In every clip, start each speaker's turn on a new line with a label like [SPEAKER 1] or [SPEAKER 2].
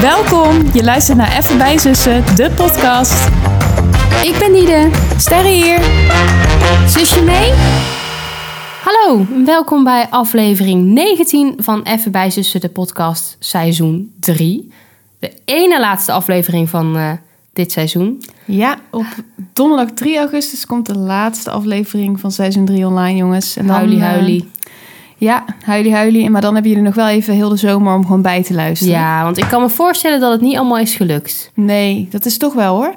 [SPEAKER 1] Welkom, je luistert naar Even bij Zussen, de podcast.
[SPEAKER 2] Ik ben Nide.
[SPEAKER 1] Sterre hier.
[SPEAKER 2] Zusje mee? Hallo, welkom bij aflevering 19 van Even bij Zussen, de podcast, seizoen 3. De ene laatste aflevering van eh, dit seizoen.
[SPEAKER 3] Ja, op donderdag 3 augustus komt de laatste aflevering van seizoen 3 online, jongens. En dan,
[SPEAKER 2] Huilie,
[SPEAKER 3] eh,
[SPEAKER 2] huilie.
[SPEAKER 3] ja, huilie, huilie. Maar dan hebben jullie nog wel even heel de zomer om gewoon bij te luisteren.
[SPEAKER 2] Ja, want ik kan me voorstellen dat het niet allemaal is gelukt.
[SPEAKER 3] Nee, dat is toch wel hoor.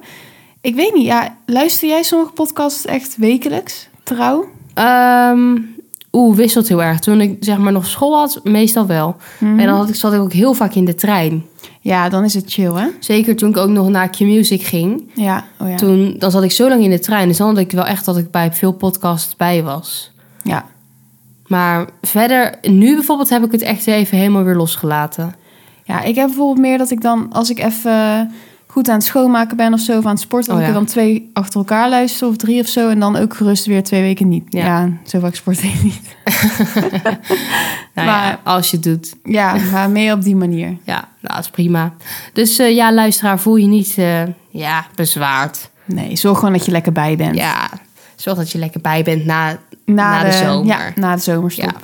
[SPEAKER 3] Ik weet niet, ja, luister jij sommige podcasts echt wekelijks? Trouw?
[SPEAKER 2] Ehm, Oeh, wisselt heel erg. Toen ik zeg maar nog school had, meestal wel. En dan had ik, zat ik ook heel vaak in de trein.
[SPEAKER 3] Ja, dan is het chill, hè?
[SPEAKER 2] Zeker toen ik ook nog naar Q-Music ging.
[SPEAKER 3] Ja, oh ja.
[SPEAKER 2] Toen, dan zat ik zo lang in de trein. Dus dan had ik wel echt dat ik bij veel podcasts bij was.
[SPEAKER 3] Ja.
[SPEAKER 2] Maar verder, nu bijvoorbeeld heb ik het echt even helemaal weer losgelaten.
[SPEAKER 3] ja, ik heb bijvoorbeeld meer dat ik dan, als ik even goed aan het schoonmaken ben of zo, of aan het sporten,
[SPEAKER 2] Oh
[SPEAKER 3] dat
[SPEAKER 2] ja.
[SPEAKER 3] ik er dan twee achter elkaar luister of drie of zo. En dan ook gerust weer twee weken niet.
[SPEAKER 2] Ja.
[SPEAKER 3] Ja, zo vaak sport ik niet.
[SPEAKER 2] Nou ja,
[SPEAKER 3] Maar-
[SPEAKER 2] als je het doet.
[SPEAKER 3] Ja, maar meer op die manier.
[SPEAKER 2] Ja, nou, dat is prima. Dus eh, ja, luisteraar, voel je niet eh, ja, bezwaard.
[SPEAKER 3] Nee, zorg gewoon dat je lekker bij bent.
[SPEAKER 2] Ja, zorg dat je lekker bij bent na... na de zomer.
[SPEAKER 3] Ja, na de zomerstop.
[SPEAKER 2] Ja.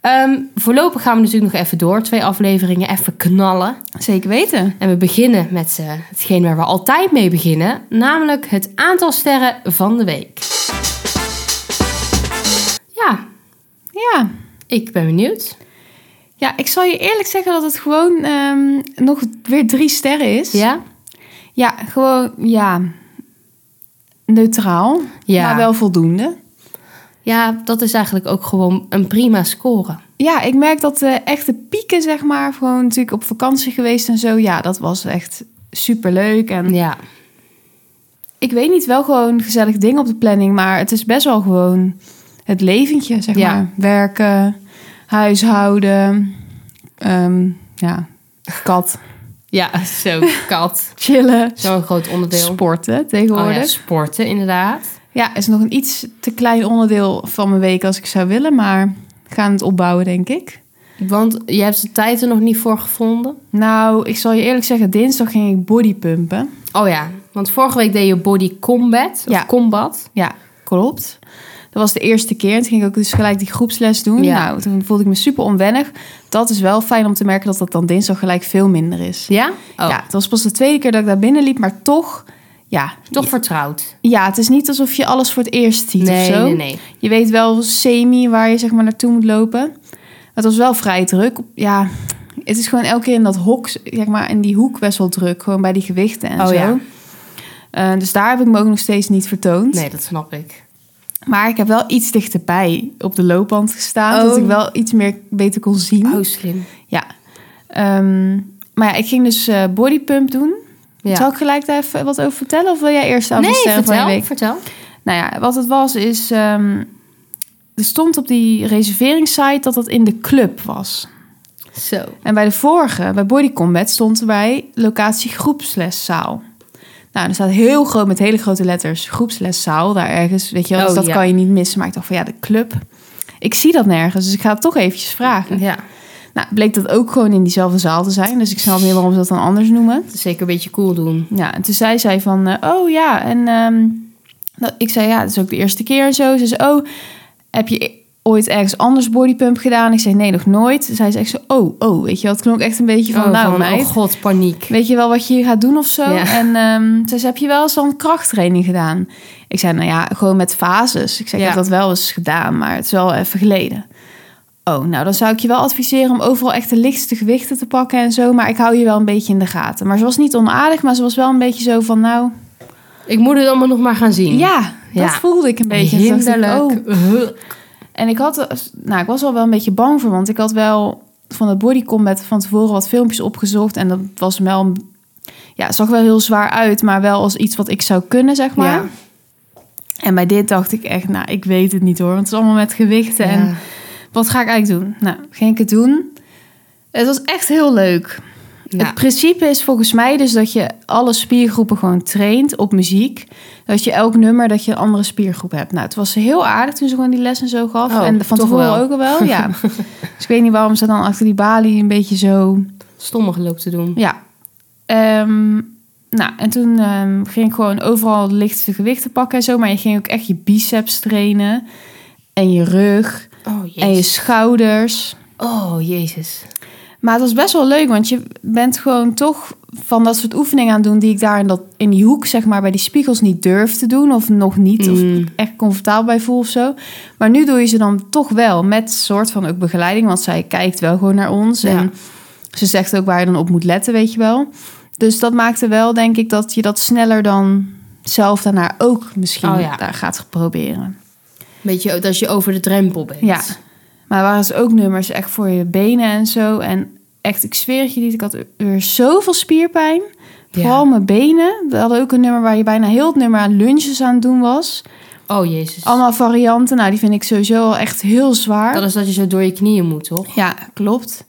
[SPEAKER 2] Ehm, voorlopig gaan we natuurlijk nog even door. Twee afleveringen even knallen.
[SPEAKER 3] Zeker weten.
[SPEAKER 2] En we beginnen met eh, hetgeen waar we altijd mee beginnen, namelijk het aantal sterren van de week. Ja,
[SPEAKER 3] Ja.
[SPEAKER 2] ik ben benieuwd.
[SPEAKER 3] Ja, ik zal je eerlijk zeggen dat het gewoon ehm, nog weer drie sterren is.
[SPEAKER 2] Ja?
[SPEAKER 3] Ja, gewoon, ja, neutraal,
[SPEAKER 2] Ja.
[SPEAKER 3] maar wel voldoende.
[SPEAKER 2] Ja, dat is eigenlijk ook gewoon een prima score.
[SPEAKER 3] Ja, ik merk dat de echte pieken, zeg maar, gewoon natuurlijk op vakantie geweest en zo. Ja, dat was echt superleuk. En
[SPEAKER 2] Ja,
[SPEAKER 3] ik weet niet, wel gewoon gezellig dingen op de planning, maar het is best wel gewoon het leventje, zeg
[SPEAKER 2] Ja.
[SPEAKER 3] maar. Werken, huishouden, ehm, ja, kat,
[SPEAKER 2] ja zo, kat.
[SPEAKER 3] chillen,
[SPEAKER 2] Zo'n groot onderdeel.
[SPEAKER 3] sporten
[SPEAKER 2] Oh
[SPEAKER 3] tegenwoordig.
[SPEAKER 2] ja,
[SPEAKER 3] ja.
[SPEAKER 2] sporten inderdaad.
[SPEAKER 3] is nog een iets te klein onderdeel van mijn week als ik zou willen, maar we gaan het opbouwen, denk ik.
[SPEAKER 2] Want je hebt de tijd er nog niet voor gevonden.
[SPEAKER 3] Nou, ik zal je eerlijk zeggen, dinsdag ging ik bodypumpen.
[SPEAKER 2] Oh ja, want vorige week deed je body combat. Of
[SPEAKER 3] Ja.
[SPEAKER 2] combat.
[SPEAKER 3] Ja, klopt. Dat was de eerste keer. En toen ging ik ook dus gelijk die groepsles doen.
[SPEAKER 2] Ja.
[SPEAKER 3] Nou, toen voelde ik me super onwennig. Dat is wel fijn om te merken dat dat dan dinsdag gelijk veel minder is.
[SPEAKER 2] Ja? Oh,
[SPEAKER 3] Ja, het was pas de tweede keer dat ik daar binnen liep, maar toch... Ja,
[SPEAKER 2] toch vertrouwd.
[SPEAKER 3] ja, het is niet alsof je alles voor het eerst ziet of
[SPEAKER 2] Nee,
[SPEAKER 3] zo.
[SPEAKER 2] nee, nee.
[SPEAKER 3] Je weet wel semi waar je zeg maar naartoe moet lopen. Het was wel vrij druk. Ja, het is gewoon elke keer in dat hok, zeg maar, in die hoek best wel druk. Gewoon bij die gewichten en
[SPEAKER 2] Oh,
[SPEAKER 3] zo.
[SPEAKER 2] ja.
[SPEAKER 3] Eh, dus daar heb ik me ook nog steeds niet vertoond.
[SPEAKER 2] Nee, dat snap ik.
[SPEAKER 3] Maar ik heb wel iets dichterbij op de loopband gestaan.
[SPEAKER 2] Oh.
[SPEAKER 3] Dat ik wel iets meer beter kon zien.
[SPEAKER 2] Oh, slim.
[SPEAKER 3] Ja. Ehm, maar ja, ik ging dus eh, bodypump doen.
[SPEAKER 2] Ja.
[SPEAKER 3] Zal ik gelijk daar even wat over vertellen? Of wil jij eerst aan de sterren van je week?
[SPEAKER 2] vertel.
[SPEAKER 3] Nou ja, wat het was is... ehm, er stond op die reserveringssite dat het in de club was.
[SPEAKER 2] Zo.
[SPEAKER 3] En bij de vorige, bij Body Combat, stond erbij locatie groepsleszaal. Nou, er staat heel groot met hele grote letters groepsleszaal daar ergens. Weet je wel,
[SPEAKER 2] Oh,
[SPEAKER 3] dus dat
[SPEAKER 2] ja.
[SPEAKER 3] kan je niet missen. Maar ik dacht van ja, de club. Ik zie dat nergens, dus ik ga het toch eventjes vragen.
[SPEAKER 2] Ja,
[SPEAKER 3] Nou, bleek dat ook gewoon in diezelfde zaal te zijn. Dus ik snap niet waarom ze dat dan anders noemen.
[SPEAKER 2] dat is zeker een beetje cool doen.
[SPEAKER 3] Ja, en toen zei zij van, eh, oh ja, en ehm, nou, ik zei ja, het is ook de eerste keer en zo. Ze zei, oh, heb je ooit ergens anders bodypump gedaan? Ik zei, nee, nog nooit. Zij zei echt zo, oh, oh, weet je wel, het klonk echt een beetje van,
[SPEAKER 2] oh,
[SPEAKER 3] nou
[SPEAKER 2] van,
[SPEAKER 3] meid,
[SPEAKER 2] oh god, paniek.
[SPEAKER 3] weet je wel wat je hier gaat doen of zo?
[SPEAKER 2] Ja.
[SPEAKER 3] En ehm, toen zei ze, heb je wel eens dan krachttraining gedaan? Ik zei, nou ja, gewoon met fases. Ik zei, ik
[SPEAKER 2] Ja.
[SPEAKER 3] heb dat wel eens gedaan, maar het is wel even geleden. Oh, nou dan zou ik je wel adviseren om overal echt de lichtste gewichten te pakken en zo. Maar ik hou je wel een beetje in de gaten. Maar ze was niet onaardig, maar ze was wel een beetje zo van, nou...
[SPEAKER 2] Ik moet het allemaal nog maar gaan zien.
[SPEAKER 3] Ja,
[SPEAKER 2] Ja.
[SPEAKER 3] dat voelde ik een beetje. Toen dacht ik, oh.
[SPEAKER 2] Hinderlijk.
[SPEAKER 3] En ik had, nou, ik was al wel een beetje bang voor, want ik had wel van het body combat van tevoren wat filmpjes opgezocht en dat was wel, een- ja, het zag wel heel zwaar uit, maar wel als iets wat ik zou kunnen, zeg maar.
[SPEAKER 2] Ja.
[SPEAKER 3] En bij dit dacht ik echt, nou, ik weet het niet hoor, want het is allemaal met gewichten en
[SPEAKER 2] Ja.
[SPEAKER 3] wat ga ik eigenlijk doen? Nou, ging ik het doen. Het was echt heel leuk.
[SPEAKER 2] Ja.
[SPEAKER 3] Het principe is volgens mij dus dat je alle spiergroepen gewoon traint op muziek. Dat je elk nummer dat je een andere spiergroep hebt. Nou, het was heel aardig toen ze gewoon die les en zo gaf.
[SPEAKER 2] Oh,
[SPEAKER 3] en van
[SPEAKER 2] toch
[SPEAKER 3] tevoren
[SPEAKER 2] wel.
[SPEAKER 3] ook al wel, ja. dus ik weet niet waarom ze dan achter die balie een beetje zo...
[SPEAKER 2] Stommig loopt te doen.
[SPEAKER 3] Ja, Ehm, nou, en toen ehm, ging ik gewoon overal de lichtste gewichten pakken en zo. Maar je ging ook echt je biceps trainen. En je rug.
[SPEAKER 2] Oh,
[SPEAKER 3] En je schouders.
[SPEAKER 2] Oh, jezus.
[SPEAKER 3] Maar het was best wel leuk, want je bent gewoon toch van dat soort oefeningen aan het doen die ik daar in, dat, in die hoek, zeg maar, bij die spiegels niet durf te doen. Of nog niet, of
[SPEAKER 2] Mm.
[SPEAKER 3] echt comfortabel bij voel of zo. Maar nu doe je ze dan toch wel met soort van ook begeleiding, want zij kijkt wel gewoon naar ons.
[SPEAKER 2] Ja.
[SPEAKER 3] En ze zegt ook waar je dan op moet letten, weet je wel. Dus dat maakte wel, denk ik, dat je dat sneller dan zelf daarna ook misschien
[SPEAKER 2] Oh ja.
[SPEAKER 3] daar gaat proberen.
[SPEAKER 2] Beetje dat je over de drempel bent.
[SPEAKER 3] Ja. Maar er waren dus ook nummers echt voor je benen en zo. En echt, ik zweer het je niet, ik had weer zoveel spierpijn. Vooral mijn benen. We hadden ook een nummer waar je bijna heel het nummer aan lunges aan het doen was.
[SPEAKER 2] Oh, jezus.
[SPEAKER 3] Allemaal varianten. Nou, die vind ik sowieso al echt heel zwaar.
[SPEAKER 2] Dat is dat je zo door je knieën moet, toch?
[SPEAKER 3] Ja, klopt.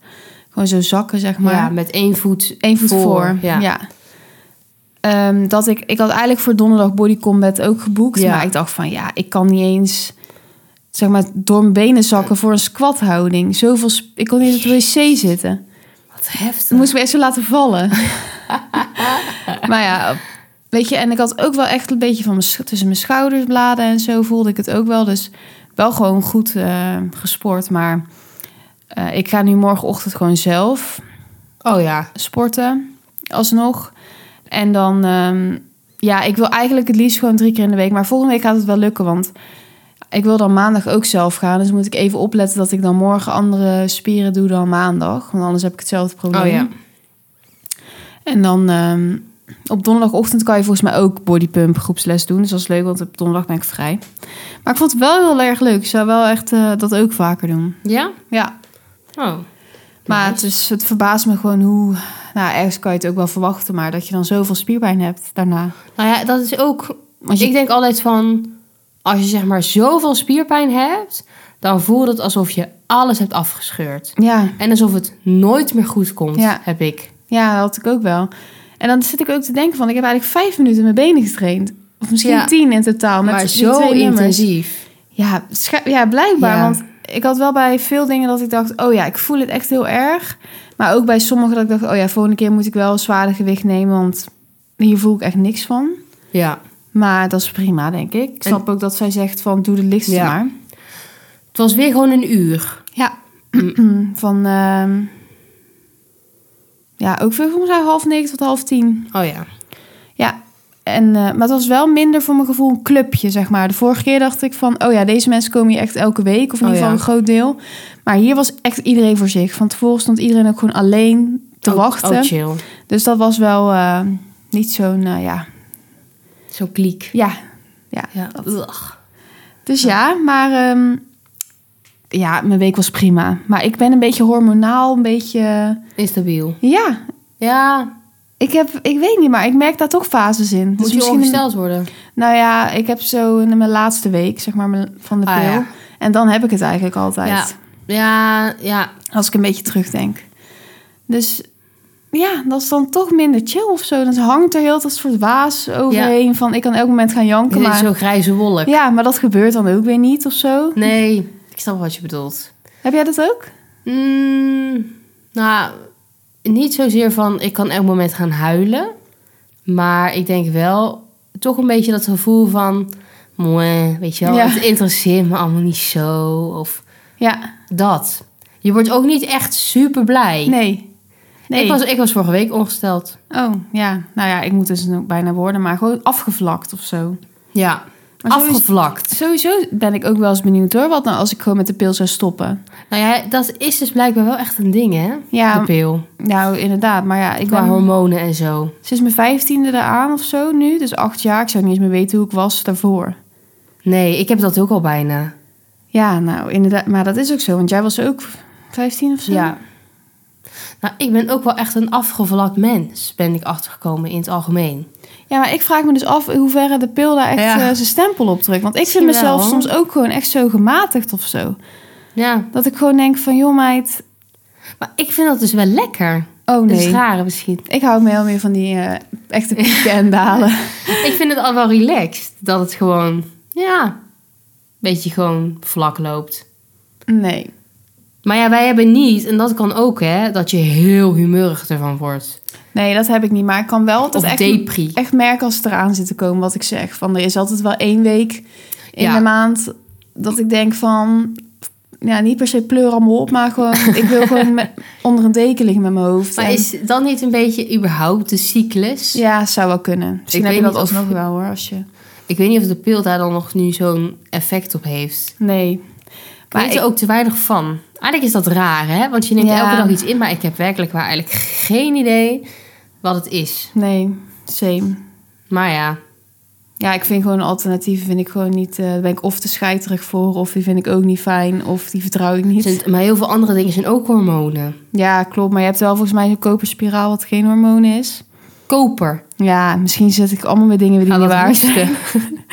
[SPEAKER 3] Gewoon zo zakken, zeg maar.
[SPEAKER 2] ja, met één voet
[SPEAKER 3] Eén voet voor.
[SPEAKER 2] Ja.
[SPEAKER 3] Ja. Ehm, dat ik, ik had eigenlijk voor donderdag Body Combat ook geboekt.
[SPEAKER 2] Ja.
[SPEAKER 3] Maar ik dacht van ja, ik kan niet eens zeg maar, door mijn benen zakken voor een squathouding. Zoveel sp- ik kon niet eens op het wc zitten.
[SPEAKER 2] Wat heftig.
[SPEAKER 3] Toen moest ik me echt zo laten vallen. maar ja, weet je, en ik had ook wel echt een beetje van mijn, sch- tussen mijn schouders bladen en zo voelde ik het ook wel. Dus wel gewoon goed eh, gesport. Maar eh, ik ga nu morgenochtend gewoon zelf
[SPEAKER 2] Oh ja.
[SPEAKER 3] sporten alsnog. En dan, ehm, ja, ik wil eigenlijk het liefst gewoon drie keer in de week. Maar volgende week gaat het wel lukken, want ik wil dan maandag ook zelf gaan. Dus moet ik even opletten dat ik dan morgen andere spieren doe dan maandag. Want anders heb ik hetzelfde probleem.
[SPEAKER 2] Oh ja.
[SPEAKER 3] En dan ehm, op donderdagochtend kan je volgens mij ook bodypump groepsles doen. Dus dat is leuk, want op donderdag ben ik vrij. Maar ik vond het wel heel erg leuk. Ik zou wel echt eh, dat ook vaker doen.
[SPEAKER 2] Ja?
[SPEAKER 3] Ja.
[SPEAKER 2] Oh.
[SPEAKER 3] Maar
[SPEAKER 2] Nice.
[SPEAKER 3] het, is, het verbaast me gewoon hoe... Nou, ergens kan je het ook wel verwachten, maar dat je dan zoveel spierpijn hebt daarna.
[SPEAKER 2] Nou ja, dat is ook...
[SPEAKER 3] Want je-
[SPEAKER 2] Ik denk altijd van... Als je zeg maar zoveel spierpijn hebt... dan voelt het alsof je alles hebt afgescheurd.
[SPEAKER 3] Ja,
[SPEAKER 2] En alsof het nooit meer goed komt,
[SPEAKER 3] Ja.
[SPEAKER 2] heb ik.
[SPEAKER 3] ja, dat had ik ook wel. En dan zit ik ook te denken van, ik heb eigenlijk vijf minuten mijn benen getraind. Of misschien
[SPEAKER 2] Ja.
[SPEAKER 3] tien in totaal. Met
[SPEAKER 2] maar
[SPEAKER 3] die
[SPEAKER 2] zo
[SPEAKER 3] twee nummers.
[SPEAKER 2] intensief.
[SPEAKER 3] Ja, scha- ja blijkbaar.
[SPEAKER 2] Ja.
[SPEAKER 3] Want ik had wel bij veel dingen dat ik dacht... oh ja, ik voel het echt heel erg. Maar ook bij sommige dat ik dacht... oh ja, volgende keer moet ik wel een zwaarder gewicht nemen... want hier voel ik echt niks van.
[SPEAKER 2] Ja.
[SPEAKER 3] Maar dat is prima, denk ik. Ik
[SPEAKER 2] En-
[SPEAKER 3] snap ook dat zij zegt van, doe de lichtste
[SPEAKER 2] Ja.
[SPEAKER 3] maar.
[SPEAKER 2] Het was weer gewoon een uur.
[SPEAKER 3] Ja, van. ehm, ja, ook veel volgens mij half negen tot half tien.
[SPEAKER 2] Oh ja.
[SPEAKER 3] Ja, en, eh, maar het was wel minder voor mijn gevoel een clubje, zeg maar. De vorige keer dacht ik van, oh ja, deze mensen komen hier echt elke week, of in ieder
[SPEAKER 2] Oh
[SPEAKER 3] geval
[SPEAKER 2] ja.
[SPEAKER 3] een groot deel. Maar hier was echt iedereen voor zich. Van tevoren stond iedereen ook gewoon alleen te
[SPEAKER 2] Oh-
[SPEAKER 3] wachten.
[SPEAKER 2] Oh, chill.
[SPEAKER 3] dus dat was wel eh, niet zo'n, eh, ja.
[SPEAKER 2] Zo'n kliek.
[SPEAKER 3] ja.
[SPEAKER 2] Ja. Ugh.
[SPEAKER 3] Dus ja, maar ehm, ja, mijn week was prima. Maar ik ben een beetje hormonaal, een beetje,
[SPEAKER 2] Instabiel.
[SPEAKER 3] ja,
[SPEAKER 2] Ja,
[SPEAKER 3] Ik heb, ik weet niet, maar ik merk daar toch fases in. Dus
[SPEAKER 2] moet je ongesteld worden.
[SPEAKER 3] nou ja, ik heb zo in mijn laatste week, zeg maar, mijn- van de pil.
[SPEAKER 2] Ah, ja.
[SPEAKER 3] En dan heb ik het eigenlijk altijd.
[SPEAKER 2] Ja. Ja, ja.
[SPEAKER 3] Als ik een beetje terugdenk. Dus ja, dat is dan toch minder chill of zo. Dan hangt er heel dat soort waas overheen van ik kan elk moment gaan janken.
[SPEAKER 2] Dit is
[SPEAKER 3] Maar,
[SPEAKER 2] zo'n grijze wolk.
[SPEAKER 3] ja, maar dat gebeurt dan ook weer niet of zo.
[SPEAKER 2] Nee, ik snap wat je bedoelt.
[SPEAKER 3] Heb jij dat ook?
[SPEAKER 2] Mm, nou, niet zozeer van ik kan elk moment gaan huilen. Maar ik denk wel toch een beetje dat gevoel van... Mwah, weet je wel,
[SPEAKER 3] Ja.
[SPEAKER 2] het interesseert me allemaal niet zo. Of
[SPEAKER 3] Ja,
[SPEAKER 2] dat. Je wordt ook niet echt super blij.
[SPEAKER 3] nee. nee.
[SPEAKER 2] Ik, was, ik was vorige week ongesteld.
[SPEAKER 3] Oh, ja. Nou ja, ik moet dus ook bijna worden, maar gewoon afgevlakt of zo.
[SPEAKER 2] Ja,
[SPEAKER 3] Maar zo is-
[SPEAKER 2] afgevlakt.
[SPEAKER 3] Sowieso ben ik ook wel eens benieuwd hoor. Wat nou als ik gewoon met de pil zou stoppen?
[SPEAKER 2] Nou ja, dat is dus blijkbaar wel echt een ding, hè?
[SPEAKER 3] Ja.
[SPEAKER 2] De pil.
[SPEAKER 3] Nou, inderdaad. Maar ja, ik
[SPEAKER 2] Qua
[SPEAKER 3] ben
[SPEAKER 2] hormonen en zo.
[SPEAKER 3] sinds mijn vijftiende eraan of zo nu. Dus acht jaar. Ik zou niet eens meer weten hoe ik was daarvoor.
[SPEAKER 2] Nee, ik heb dat ook al bijna.
[SPEAKER 3] Ja, nou inderdaad. Maar dat is ook zo. Want jij was ook vijftien of zo?
[SPEAKER 2] Nou, ik ben ook wel echt een afgevlakt mens, ben ik achtergekomen in het algemeen.
[SPEAKER 3] Ja, maar ik vraag me dus af in hoeverre de pil daar echt
[SPEAKER 2] Ja.
[SPEAKER 3] eh, zijn stempel op drukt. Want ik vind
[SPEAKER 2] Misschien
[SPEAKER 3] mezelf
[SPEAKER 2] wel.
[SPEAKER 3] soms ook gewoon echt zo gematigd of zo.
[SPEAKER 2] Ja,
[SPEAKER 3] Dat ik gewoon denk van, joh meid.
[SPEAKER 2] maar ik vind dat dus wel lekker.
[SPEAKER 3] Oh
[SPEAKER 2] Dat is
[SPEAKER 3] nee.
[SPEAKER 2] raar misschien.
[SPEAKER 3] Ik hou me heel meer van die eh, echte pieken en dalen.
[SPEAKER 2] ik vind het al wel relaxed, dat het gewoon, ja, een beetje gewoon vlak loopt.
[SPEAKER 3] Nee.
[SPEAKER 2] Maar ja, wij hebben niet, en dat kan ook hè, dat je heel humeurig ervan wordt.
[SPEAKER 3] Nee, dat heb ik niet. Maar ik kan wel dat
[SPEAKER 2] of
[SPEAKER 3] echt,
[SPEAKER 2] depri.
[SPEAKER 3] echt merken als het eraan zit te komen wat ik zeg. Van er is altijd wel één week in
[SPEAKER 2] Ja.
[SPEAKER 3] de maand dat ik denk van... Ja, niet per se pleur allemaal op, maar gewoon... ik wil gewoon me- onder een deken liggen met mijn hoofd.
[SPEAKER 2] Maar
[SPEAKER 3] En-
[SPEAKER 2] is dat niet een beetje überhaupt de cyclus?
[SPEAKER 3] Ja, zou wel kunnen. Misschien
[SPEAKER 2] weet
[SPEAKER 3] heb je dat
[SPEAKER 2] niet of-
[SPEAKER 3] alsnog wel hoor, als je...
[SPEAKER 2] Ik weet niet of de pil daar dan nog nu zo'n effect op heeft.
[SPEAKER 3] Nee.
[SPEAKER 2] Maar
[SPEAKER 3] Maar
[SPEAKER 2] ik weet
[SPEAKER 3] ik-
[SPEAKER 2] er ook te weinig van. Eigenlijk is dat raar, hè? Want je neemt
[SPEAKER 3] Ja.
[SPEAKER 2] elke dag iets in, maar ik heb werkelijk waar eigenlijk geen idee wat het is.
[SPEAKER 3] Nee, same.
[SPEAKER 2] Maar ja,
[SPEAKER 3] Ja, ik vind gewoon alternatieven vind ik gewoon niet... eh, Daar ben ik of te scheiterig voor, of die vind ik ook niet fijn... of die vertrouw ik niet.
[SPEAKER 2] zijn- maar heel veel andere dingen zijn ook hormonen.
[SPEAKER 3] Ja, klopt. Maar je hebt wel volgens mij zo'n koperspiraal wat geen hormoon is.
[SPEAKER 2] Koper.
[SPEAKER 3] Ja, misschien zet ik allemaal weer dingen die
[SPEAKER 2] Aan
[SPEAKER 3] niet
[SPEAKER 2] dat
[SPEAKER 3] waar zijn.
[SPEAKER 2] hoesten.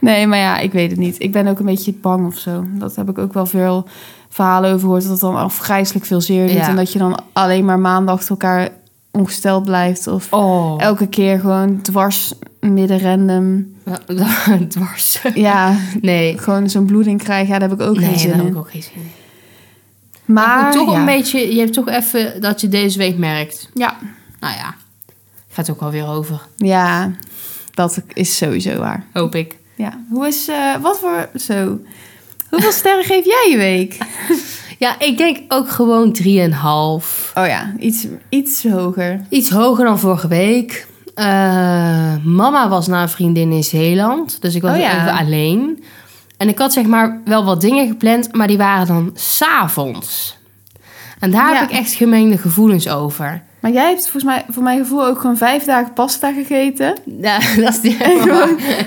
[SPEAKER 3] Nee, maar ja, ik weet het niet. Ik ben ook een beetje bang of zo. Dat heb ik ook wel veel verhalen over gehoord. Dat het dan afgrijzelijk veel zeer doet.
[SPEAKER 2] Ja.
[SPEAKER 3] En dat je dan alleen maar maandag achter elkaar ongesteld blijft. Of
[SPEAKER 2] Oh.
[SPEAKER 3] elke keer gewoon dwars midden random.
[SPEAKER 2] Dwars.
[SPEAKER 3] Ja,
[SPEAKER 2] Nee.
[SPEAKER 3] gewoon zo'n bloeding krijgen. Ja, daar heb ik ook geen
[SPEAKER 2] nee, daar
[SPEAKER 3] zin
[SPEAKER 2] heb ik
[SPEAKER 3] in.
[SPEAKER 2] ook geen zin in.
[SPEAKER 3] Maar,
[SPEAKER 2] Maar toch
[SPEAKER 3] ja.
[SPEAKER 2] een beetje, je hebt toch even dat je deze week merkt.
[SPEAKER 3] Ja.
[SPEAKER 2] Nou ja, gaat ook alweer over,
[SPEAKER 3] ja, dat is sowieso waar.
[SPEAKER 2] hoop ik.
[SPEAKER 3] Ja, hoe is, eh, wat voor, zo, hoeveel sterren geef jij je week?
[SPEAKER 2] Ja, ik denk ook gewoon 3,5.
[SPEAKER 3] Oh ja, iets, iets hoger.
[SPEAKER 2] Iets hoger dan vorige week. Eh, mama was naar een vriendin in Zeeland. Dus ik was
[SPEAKER 3] Oh ja.
[SPEAKER 2] even alleen. En ik had zeg maar wel wat dingen gepland, maar die waren dan s'avonds. En daar
[SPEAKER 3] Ja.
[SPEAKER 2] heb ik echt gemengde gevoelens over.
[SPEAKER 3] Maar jij hebt volgens mij, voor mijn gevoel, ook gewoon vijf dagen pasta gegeten.
[SPEAKER 2] Ja, dat is die-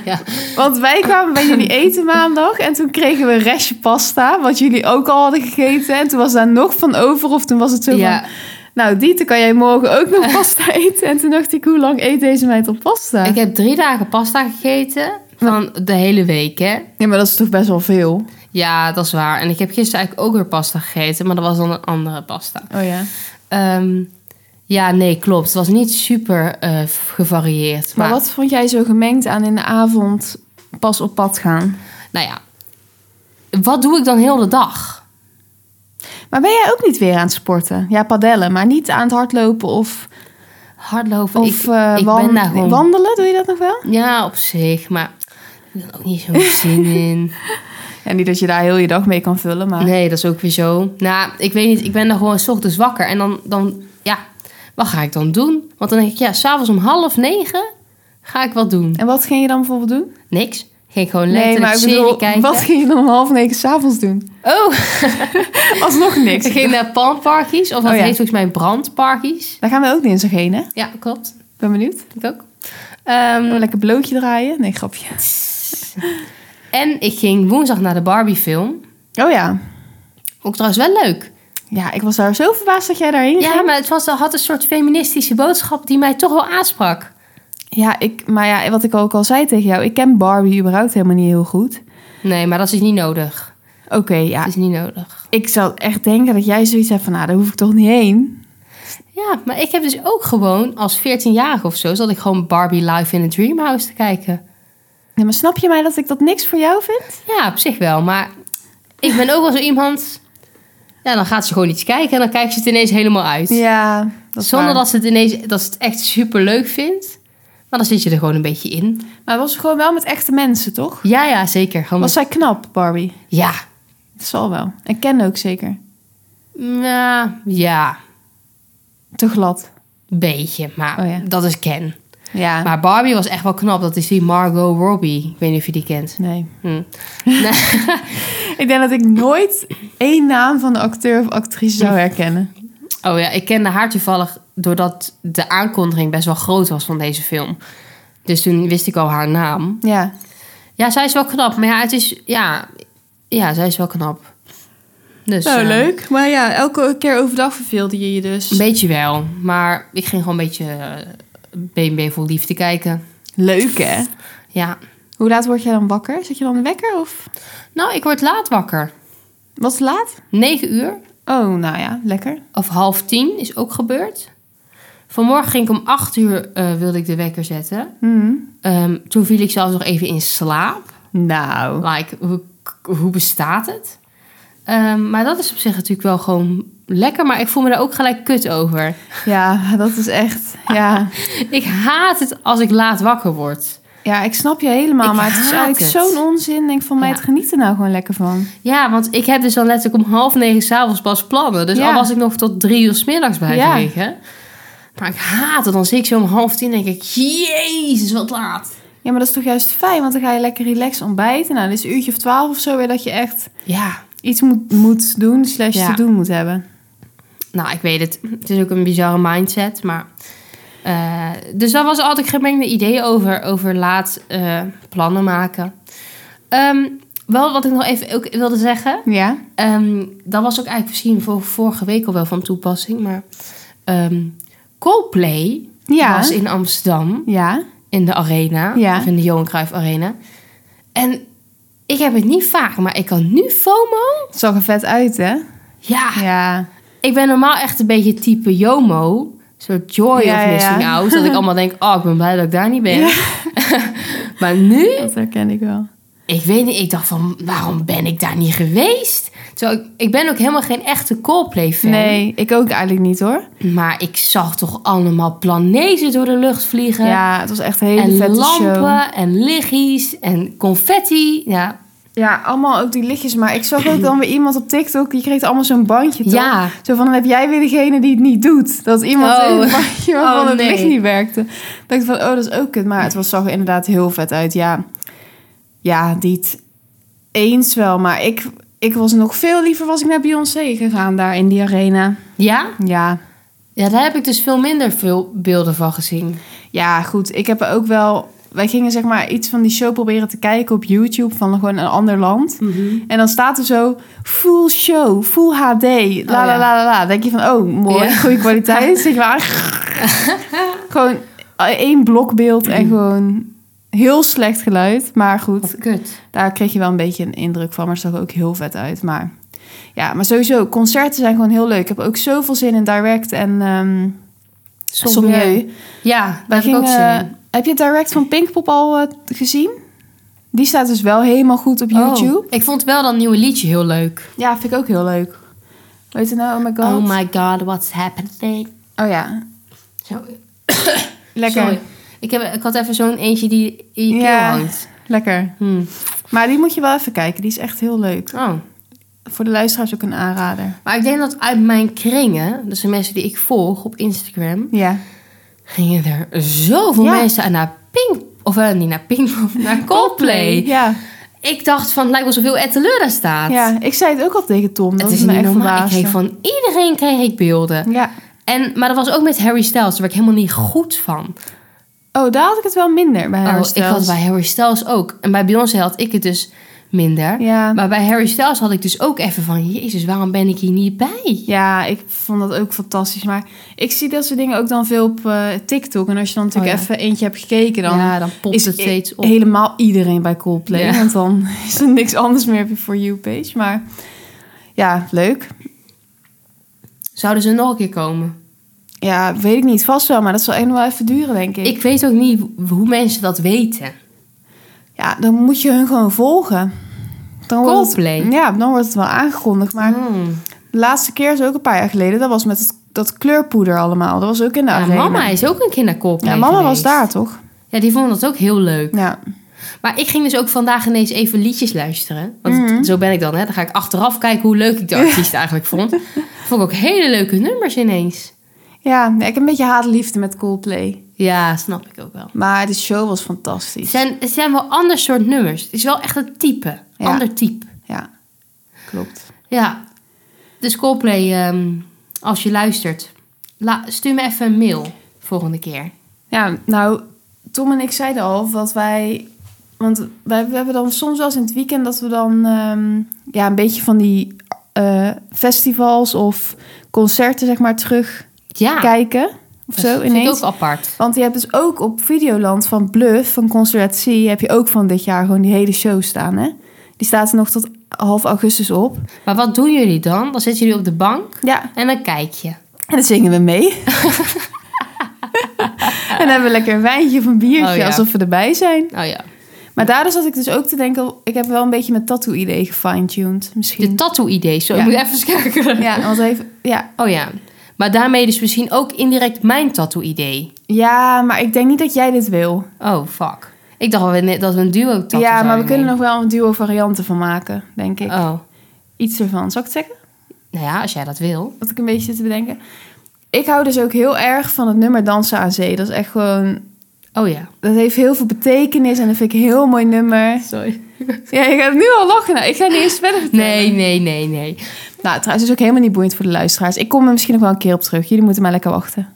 [SPEAKER 2] ja.
[SPEAKER 3] Want wij kwamen bij jullie eten maandag en toen kregen we een restje pasta, wat jullie ook al hadden gegeten. En toen was daar nog van over, of toen was het zo
[SPEAKER 2] Ja.
[SPEAKER 3] van, nou Dieter, kan jij morgen ook nog pasta eten? En toen dacht ik, hoe lang eet deze meid al pasta?
[SPEAKER 2] Ik heb drie dagen pasta gegeten van de hele week, hè.
[SPEAKER 3] Nee, maar dat is toch best wel veel?
[SPEAKER 2] Ja, dat is waar. En ik heb gisteren eigenlijk ook weer pasta gegeten, maar dat was dan een andere pasta.
[SPEAKER 3] Oh ja.
[SPEAKER 2] Ehm, ja, nee, klopt. Het was niet super eh, gevarieerd.
[SPEAKER 3] Maar wat vond jij zo gemengd aan in de avond pas op pad gaan?
[SPEAKER 2] Nou ja, wat doe ik dan heel de dag?
[SPEAKER 3] Maar ben jij ook niet weer aan het sporten? Ja, padellen, maar niet aan het hardlopen of,
[SPEAKER 2] Hardlopen.
[SPEAKER 3] of
[SPEAKER 2] ik,
[SPEAKER 3] eh,
[SPEAKER 2] ik
[SPEAKER 3] wan-
[SPEAKER 2] ben daar gewoon.
[SPEAKER 3] wandelen? Doe je dat nog wel?
[SPEAKER 2] ja, op zich, maar ik heb er ook niet zo'n zin in.
[SPEAKER 3] En niet dat je daar heel je dag mee kan vullen, maar...
[SPEAKER 2] Nee, dat is ook weer zo. Nou, ik weet niet. Ik ben dan gewoon 's ochtends wakker. En dan, dan, ja, wat ga ik dan doen? Want dan denk ik, ja, s'avonds om half negen ga ik wat doen.
[SPEAKER 3] En wat ging je dan bijvoorbeeld doen?
[SPEAKER 2] Niks. Ging gewoon letterlijk serie kijken.
[SPEAKER 3] wat ging je dan om half negen s'avonds doen?
[SPEAKER 2] Oh,
[SPEAKER 3] Alsnog niks.
[SPEAKER 2] ik ging naar panparkies. eh, Of dat
[SPEAKER 3] Oh ja.
[SPEAKER 2] heet volgens mij brandparkies.
[SPEAKER 3] Daar gaan we ook dinsdag heen, hè?
[SPEAKER 2] Ja, klopt.
[SPEAKER 3] Ben benieuwd.
[SPEAKER 2] Ik ook. Ehm,
[SPEAKER 3] Gaan we lekker blootje draaien? Nee, grapje.
[SPEAKER 2] En ik ging woensdag naar de Barbie film.
[SPEAKER 3] Oh ja.
[SPEAKER 2] Ook trouwens wel leuk.
[SPEAKER 3] Ja, ik was daar zo verbaasd dat jij daarheen ging.
[SPEAKER 2] Ja, maar het was, had een soort feministische boodschap die mij toch wel aansprak.
[SPEAKER 3] Ja, ik, maar ja, wat ik ook al zei tegen jou. Ik ken Barbie überhaupt helemaal niet heel goed.
[SPEAKER 2] Nee, maar dat is niet nodig.
[SPEAKER 3] Oké, ja.
[SPEAKER 2] Dat is niet nodig.
[SPEAKER 3] Ik zou echt denken dat jij zoiets hebt van... Nou, daar hoef ik toch niet heen.
[SPEAKER 2] Ja, maar ik heb dus ook gewoon als 14-jarige of zo... zat ik gewoon Barbie live in a Dreamhouse te kijken.
[SPEAKER 3] Ja, maar snap je mij dat ik dat niks voor jou vind?
[SPEAKER 2] Ja, op zich wel. Maar ik ben ook wel zo iemand... Ja, dan gaat ze gewoon iets kijken en dan kijkt ze het ineens helemaal uit.
[SPEAKER 3] Ja, dat is
[SPEAKER 2] Zonder
[SPEAKER 3] waar.
[SPEAKER 2] dat ze, het ineens, dat ze het echt super leuk vindt. Maar dan zit je er gewoon een beetje in.
[SPEAKER 3] Maar het was gewoon wel met echte mensen, toch?
[SPEAKER 2] Ja, ja, zeker. Gewoon
[SPEAKER 3] Was
[SPEAKER 2] met-
[SPEAKER 3] zij knap, Barbie?
[SPEAKER 2] Ja,
[SPEAKER 3] Dat zal wel. En Ken ook zeker.
[SPEAKER 2] Nou, ja,
[SPEAKER 3] Te glad.
[SPEAKER 2] een beetje. Maar
[SPEAKER 3] Oh ja.
[SPEAKER 2] dat is Ken.
[SPEAKER 3] Ja.
[SPEAKER 2] Maar Barbie was echt wel knap. Dat is die Margot Robbie. Ik weet niet of je die kent.
[SPEAKER 3] Nee.
[SPEAKER 2] Hm.
[SPEAKER 3] Ik denk dat ik nooit één naam van de acteur of actrice zou herkennen.
[SPEAKER 2] Oh ja, ik kende haar toevallig doordat de aankondiging best wel groot was van deze film. Dus toen wist ik al haar naam.
[SPEAKER 3] Ja.
[SPEAKER 2] Ja, zij is wel knap. Maar ja, het is... Ja, ja zij is wel knap. Dus,
[SPEAKER 3] Nou,
[SPEAKER 2] eh,
[SPEAKER 3] leuk. Maar ja, elke keer overdag verveelde je je
[SPEAKER 2] Een
[SPEAKER 3] dus.
[SPEAKER 2] beetje wel. Maar ik ging gewoon een beetje eh, BNB vol liefde kijken.
[SPEAKER 3] Leuk, hè?
[SPEAKER 2] Ja.
[SPEAKER 3] Hoe laat word jij dan wakker? Zet je dan een wekker of...
[SPEAKER 2] Nou, ik word laat wakker.
[SPEAKER 3] Wat is laat?
[SPEAKER 2] 9 uur.
[SPEAKER 3] Oh, nou ja, lekker.
[SPEAKER 2] of half tien is ook gebeurd. Vanmorgen ging ik om acht uur, eh, wilde ik de wekker zetten.
[SPEAKER 3] Hm.
[SPEAKER 2] Ehm, toen viel ik zelfs nog even in slaap.
[SPEAKER 3] Nou.
[SPEAKER 2] Like, hoe, hoe bestaat het? Ehm, maar dat is op zich natuurlijk wel gewoon lekker. Maar ik voel me daar ook gelijk kut over.
[SPEAKER 3] Ja, dat is echt. Ja,
[SPEAKER 2] Ik haat het als ik laat wakker word.
[SPEAKER 3] ja ik snap je helemaal.
[SPEAKER 2] Ik
[SPEAKER 3] maar het is
[SPEAKER 2] haat
[SPEAKER 3] eigenlijk
[SPEAKER 2] het.
[SPEAKER 3] zo'n onzin. Denk van mij,
[SPEAKER 2] Ja.
[SPEAKER 3] het geniet er nou gewoon lekker van.
[SPEAKER 2] Ja, want ik heb dus dan letterlijk om half negen s'avonds pas plannen. Dus
[SPEAKER 3] Ja.
[SPEAKER 2] al was ik nog tot drie uur 's middags bij
[SPEAKER 3] Ja.
[SPEAKER 2] gelegen. Maar ik haat het. Dan zie ik zo om half tien en denk ik... Jezus, wat laat.
[SPEAKER 3] Ja, maar dat is toch juist fijn, want dan ga je lekker relaxed ontbijten. Nou, dit is een uurtje of twaalf of zo weer dat je echt
[SPEAKER 2] Ja.
[SPEAKER 3] iets moet, moet doen, slash
[SPEAKER 2] Ja.
[SPEAKER 3] te doen moet hebben.
[SPEAKER 2] Nou, ik weet het. Het is ook een bizarre mindset, maar... eh, dus daar was altijd gemengde ideeën over, over laat eh, plannen maken. Ehm, wel wat ik nog even ook wilde zeggen.
[SPEAKER 3] Ja?
[SPEAKER 2] ehm, dat was ook eigenlijk misschien voor vorige week al wel van toepassing, maar... ehm Coldplay
[SPEAKER 3] Ja.
[SPEAKER 2] was in Amsterdam,
[SPEAKER 3] Ja?
[SPEAKER 2] in de arena,
[SPEAKER 3] Ja.
[SPEAKER 2] of in de Johan Cruijff Arena. En ik heb het niet vaak, maar ik kan nu FOMO.
[SPEAKER 3] Het zag er vet uit, hè?
[SPEAKER 2] Ja,
[SPEAKER 3] Ja.
[SPEAKER 2] ik ben normaal echt een beetje type JOMO. Zo'n joy
[SPEAKER 3] Ja, ja,
[SPEAKER 2] of missing
[SPEAKER 3] ja.
[SPEAKER 2] out. Dat ik allemaal denk, oh, ik ben blij dat ik daar niet ben. maar nu,
[SPEAKER 3] Dat herken ik wel.
[SPEAKER 2] ik weet niet, ik dacht van, waarom ben ik daar niet geweest? Terwijl ik, ik ben ook helemaal geen echte Coldplay-fan.
[SPEAKER 3] Nee, ik ook eigenlijk niet hoor.
[SPEAKER 2] Maar ik zag toch allemaal planezen door de lucht vliegen.
[SPEAKER 3] Ja, het was echt een hele
[SPEAKER 2] en
[SPEAKER 3] vette
[SPEAKER 2] lampen
[SPEAKER 3] show.
[SPEAKER 2] en liggies en confetti. Ja,
[SPEAKER 3] Ja, allemaal ook die lichtjes. Maar ik zag ook dan weer iemand op TikTok, die kreeg allemaal zo'n bandje toch?
[SPEAKER 2] ja.
[SPEAKER 3] Zo van, dan heb jij weer degene die het niet doet. Dat iemand
[SPEAKER 2] Oh.
[SPEAKER 3] in het bandje waarvan
[SPEAKER 2] Oh,
[SPEAKER 3] het
[SPEAKER 2] nee.
[SPEAKER 3] licht niet werkte. Ik dacht van, oh, dat is ook kut. Maar het was, zag er inderdaad heel vet uit. Ja, ja dit eens wel. Maar ik, ik was nog veel liever was ik naar Beyoncé gegaan daar in die arena.
[SPEAKER 2] ja.
[SPEAKER 3] Ja,
[SPEAKER 2] Ja, daar heb ik dus veel minder veel beelden van gezien.
[SPEAKER 3] ja goed. Ik heb er ook wel... Wij gingen zeg maar iets van die show proberen te kijken op YouTube van gewoon een ander land. En dan staat er zo full show, full HD, la la la
[SPEAKER 2] ja.
[SPEAKER 3] la la. Dan denk je van, oh mooi,
[SPEAKER 2] Ja.
[SPEAKER 3] goede kwaliteit. zeg maar, gewoon eh, één blokbeeld en gewoon heel slecht geluid. Maar goed,
[SPEAKER 2] Wat kut.
[SPEAKER 3] daar kreeg je wel een beetje een indruk van, maar het zag er ook heel vet uit. Maar ja, maar sowieso, concerten zijn gewoon heel leuk. Ik heb ook zoveel zin in Direct en ehm Sommieu.
[SPEAKER 2] Ja,
[SPEAKER 3] Wij
[SPEAKER 2] daar heb ik ook zin
[SPEAKER 3] gingen-
[SPEAKER 2] in.
[SPEAKER 3] Heb je Direct van Pinkpop al eh, gezien? Die staat dus wel helemaal goed op YouTube.
[SPEAKER 2] Oh, ik vond wel dat nieuwe liedje heel leuk.
[SPEAKER 3] Ja, vind ik ook heel leuk. Weet je nou, oh my god.
[SPEAKER 2] Oh my god, what's happening?
[SPEAKER 3] Oh ja,
[SPEAKER 2] Zo,
[SPEAKER 3] lekker.
[SPEAKER 2] Sorry. Ik, heb, ik had even zo'n eentje die in je keel
[SPEAKER 3] Ja.
[SPEAKER 2] hangt.
[SPEAKER 3] Lekker.
[SPEAKER 2] Hm.
[SPEAKER 3] Maar die moet je wel even kijken. Die is echt heel leuk.
[SPEAKER 2] Oh.
[SPEAKER 3] Voor de luisteraars ook een aanrader.
[SPEAKER 2] Maar ik denk dat uit mijn kringen, dus de mensen die ik volg op Instagram,
[SPEAKER 3] Ja.
[SPEAKER 2] gingen er zoveel
[SPEAKER 3] Ja.
[SPEAKER 2] mensen naar Pink... Of eh, niet naar Pink, naar Coldplay.
[SPEAKER 3] Ja.
[SPEAKER 2] Ik dacht van, het lijkt wel zoveel Ed Teleur daar staat.
[SPEAKER 3] ja, ik zei het ook al tegen Tom. Dat
[SPEAKER 2] Het is
[SPEAKER 3] me
[SPEAKER 2] niet
[SPEAKER 3] echt
[SPEAKER 2] normaal. Ik
[SPEAKER 3] verbaasde.
[SPEAKER 2] kreeg van iedereen kreeg ik beelden.
[SPEAKER 3] Ja.
[SPEAKER 2] En, maar dat was ook met Harry Styles. Daar werd ik helemaal niet goed van.
[SPEAKER 3] Oh, daar had ik het wel minder bij haar
[SPEAKER 2] Oh, ik had het bij Harry Styles ook. En bij Beyoncé had ik het dus minder.
[SPEAKER 3] Ja.
[SPEAKER 2] Maar bij Harry Styles had ik dus ook even van... Jezus, waarom ben ik hier niet bij?
[SPEAKER 3] Ja, ik vond dat ook fantastisch. Maar ik zie dat soort dingen ook dan veel op eh, TikTok. En als je dan natuurlijk
[SPEAKER 2] Oh ja.
[SPEAKER 3] even eentje hebt gekeken, dan
[SPEAKER 2] ja, dan popt
[SPEAKER 3] is
[SPEAKER 2] het
[SPEAKER 3] e-
[SPEAKER 2] steeds op.
[SPEAKER 3] helemaal iedereen bij Coldplay.
[SPEAKER 2] Ja.
[SPEAKER 3] Want dan is er niks anders meer op je For You page. Maar ja, leuk.
[SPEAKER 2] Zouden ze nog een keer komen?
[SPEAKER 3] Ja, weet ik niet. Vast wel, maar dat zal echt nog wel even duren, denk ik.
[SPEAKER 2] Ik weet ook niet w- hoe mensen dat weten.
[SPEAKER 3] Ja, dan moet je hun gewoon volgen. Dan wordt het-
[SPEAKER 2] Coldplay?
[SPEAKER 3] ja, dan wordt het wel aangekondigd. Maar
[SPEAKER 2] Hmm.
[SPEAKER 3] de laatste keer is ook een paar jaar geleden. Dat was met het, dat kleurpoeder allemaal. Dat was ook in de
[SPEAKER 2] Ja,
[SPEAKER 3] arena.
[SPEAKER 2] mama is ook een keer naar Coldplay
[SPEAKER 3] Ja, mama was
[SPEAKER 2] geweest.
[SPEAKER 3] daar, toch?
[SPEAKER 2] Ja, die vond dat ook heel leuk.
[SPEAKER 3] Ja.
[SPEAKER 2] Maar ik ging dus ook vandaag ineens even liedjes luisteren. Want
[SPEAKER 3] Mhm.
[SPEAKER 2] zo ben ik dan, hè. Dan ga ik achteraf kijken hoe leuk ik de artiest eigenlijk vond. Vond ik ook hele leuke nummers ineens.
[SPEAKER 3] Ja, nee, ik heb een beetje haatliefde met Coldplay.
[SPEAKER 2] Ja, snap ik ook wel.
[SPEAKER 3] Maar de show was fantastisch.
[SPEAKER 2] Het zijn, het zijn wel ander soort nummers. Het is wel echt een type.
[SPEAKER 3] Ja.
[SPEAKER 2] Ander type.
[SPEAKER 3] Ja, klopt.
[SPEAKER 2] Ja. Dus Coldplay, ehm, als je luistert, la- stuur me even een mail volgende keer.
[SPEAKER 3] Ja, nou, Tom en ik zeiden al wat wij... Want wij, we hebben dan soms wel eens in het weekend dat we dan ehm, ja, een beetje van die eh, festivals of concerten zeg maar terugkijken
[SPEAKER 2] Ja,
[SPEAKER 3] of
[SPEAKER 2] dat
[SPEAKER 3] zo
[SPEAKER 2] vind ik
[SPEAKER 3] ineens.
[SPEAKER 2] ook apart.
[SPEAKER 3] Want je hebt dus ook op Videoland van Bluff, van Concert C, heb je ook van dit jaar gewoon die hele show staan hè. Die staat nog tot half augustus op.
[SPEAKER 2] Maar wat doen jullie dan? Dan zitten jullie op de bank
[SPEAKER 3] Ja,
[SPEAKER 2] en dan kijk je.
[SPEAKER 3] En dan zingen we mee. en dan hebben we lekker een wijntje of een biertje,
[SPEAKER 2] Oh ja.
[SPEAKER 3] alsof we erbij zijn.
[SPEAKER 2] Oh ja.
[SPEAKER 3] Maar Maar daardoor zat ik dus ook te denken, ik heb wel een beetje mijn tattoo-idee gefine-tuned
[SPEAKER 2] De
[SPEAKER 3] misschien.
[SPEAKER 2] tattoo-idee. Zo,
[SPEAKER 3] Ja.
[SPEAKER 2] ik moet even eens kijken.
[SPEAKER 3] ja, want hij heeft, ja.
[SPEAKER 2] Oh ja. Maar daarmee dus misschien ook indirect mijn tattoo-idee.
[SPEAKER 3] ja, maar ik denk niet dat jij dit wil.
[SPEAKER 2] Oh, fuck. Ik dacht wel net dat we een duo tattoo
[SPEAKER 3] ja, maar we
[SPEAKER 2] zouden
[SPEAKER 3] kunnen
[SPEAKER 2] nemen.
[SPEAKER 3] nog wel een duo varianten van maken, denk ik.
[SPEAKER 2] Oh.
[SPEAKER 3] Iets ervan. Zal ik het zeggen?
[SPEAKER 2] Nou ja, als jij dat wil.
[SPEAKER 3] Wat ik een beetje zit te bedenken. Ik hou dus ook heel erg van het nummer Dansen aan Zee. Dat is echt gewoon...
[SPEAKER 2] Oh ja.
[SPEAKER 3] Dat heeft heel veel betekenis en dat vind ik een heel mooi nummer.
[SPEAKER 2] Sorry.
[SPEAKER 3] Ja, je gaat nu al lachen. Nou, ik ga niet eens verder vertellen.
[SPEAKER 2] Nee, nee, nee, nee.
[SPEAKER 3] Nou, trouwens, is ook helemaal niet boeiend voor de luisteraars. Ik kom er misschien nog wel een keer op terug. Jullie moeten maar lekker wachten.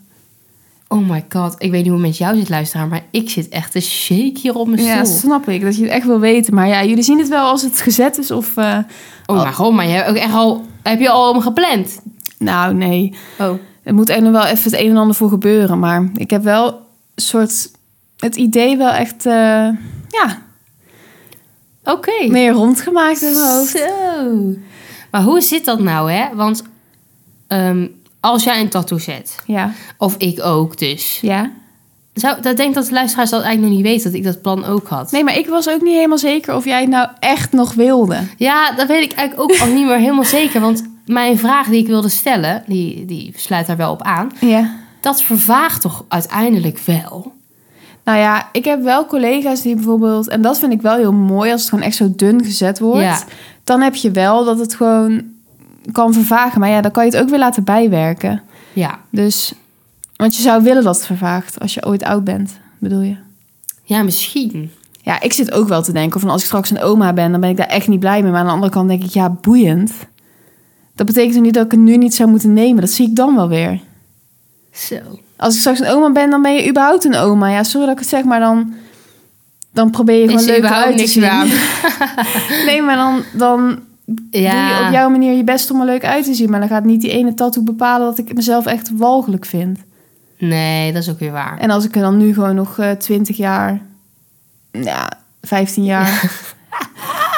[SPEAKER 2] Oh my god. Ik weet niet hoe het met jou zit luisteraar, maar ik zit echt te shake hier op mijn stoel.
[SPEAKER 3] Ja, snap ik. Dat je het echt wil weten. Maar ja, jullie zien het wel als het gezet is of... eh,
[SPEAKER 2] Oh mijn god, maar je hebt ook echt al... Heb je al om gepland?
[SPEAKER 3] Nou, nee.
[SPEAKER 2] Oh.
[SPEAKER 3] Er moet er nog wel even het een en ander voor gebeuren. Maar ik heb wel een soort... Het idee wel echt... eh, ja,
[SPEAKER 2] Oké.
[SPEAKER 3] meer rondgemaakt in mijn hoofd.
[SPEAKER 2] Zo. Maar hoe zit dat nou, hè? Want ehm, als jij een tattoo zet,
[SPEAKER 3] Ja.
[SPEAKER 2] of ik ook dus...
[SPEAKER 3] Ja.
[SPEAKER 2] Zou, dat denk ik dat de luisteraars dat eigenlijk nog niet weten, dat ik dat plan ook had.
[SPEAKER 3] Nee, maar ik was ook niet helemaal zeker of jij het nou echt nog wilde.
[SPEAKER 2] Ja, dat weet ik eigenlijk ook al niet meer helemaal zeker. Want mijn vraag die ik wilde stellen, die, die sluit daar wel op aan.
[SPEAKER 3] Ja.
[SPEAKER 2] Dat vervaagt toch uiteindelijk wel?
[SPEAKER 3] Nou ja, ik heb wel collega's die bijvoorbeeld, en dat vind ik wel heel mooi als het gewoon echt zo dun gezet wordt.
[SPEAKER 2] Ja.
[SPEAKER 3] Dan heb je wel dat het gewoon kan vervagen. Maar ja, dan kan je het ook weer laten bijwerken.
[SPEAKER 2] Ja.
[SPEAKER 3] Dus, want je zou willen dat het vervaagt als je ooit oud bent, bedoel je?
[SPEAKER 2] Ja, misschien.
[SPEAKER 3] Ja, ik zit ook wel te denken van als ik straks een oma ben, dan ben ik daar echt niet blij mee. Maar aan de andere kant denk ik, ja, boeiend. Dat betekent toch niet dat ik het nu niet zou moeten nemen. Dat zie ik dan wel weer.
[SPEAKER 2] Zo.
[SPEAKER 3] Als ik straks een oma ben, dan ben je überhaupt een oma. Ja, sorry dat ik het zeg, maar dan, dan probeer je gewoon
[SPEAKER 2] Is er
[SPEAKER 3] leuk
[SPEAKER 2] überhaupt
[SPEAKER 3] uit te
[SPEAKER 2] niks
[SPEAKER 3] zien.
[SPEAKER 2] meer aan?
[SPEAKER 3] Nee, maar dan, dan doe je
[SPEAKER 2] Ja.
[SPEAKER 3] op jouw manier je best om er leuk uit te zien. Maar dan gaat niet die ene tattoo bepalen dat ik mezelf echt walgelijk vind.
[SPEAKER 2] Nee, dat is ook weer waar.
[SPEAKER 3] En als ik er dan nu gewoon nog eh 20 jaar, ja, 15 jaar.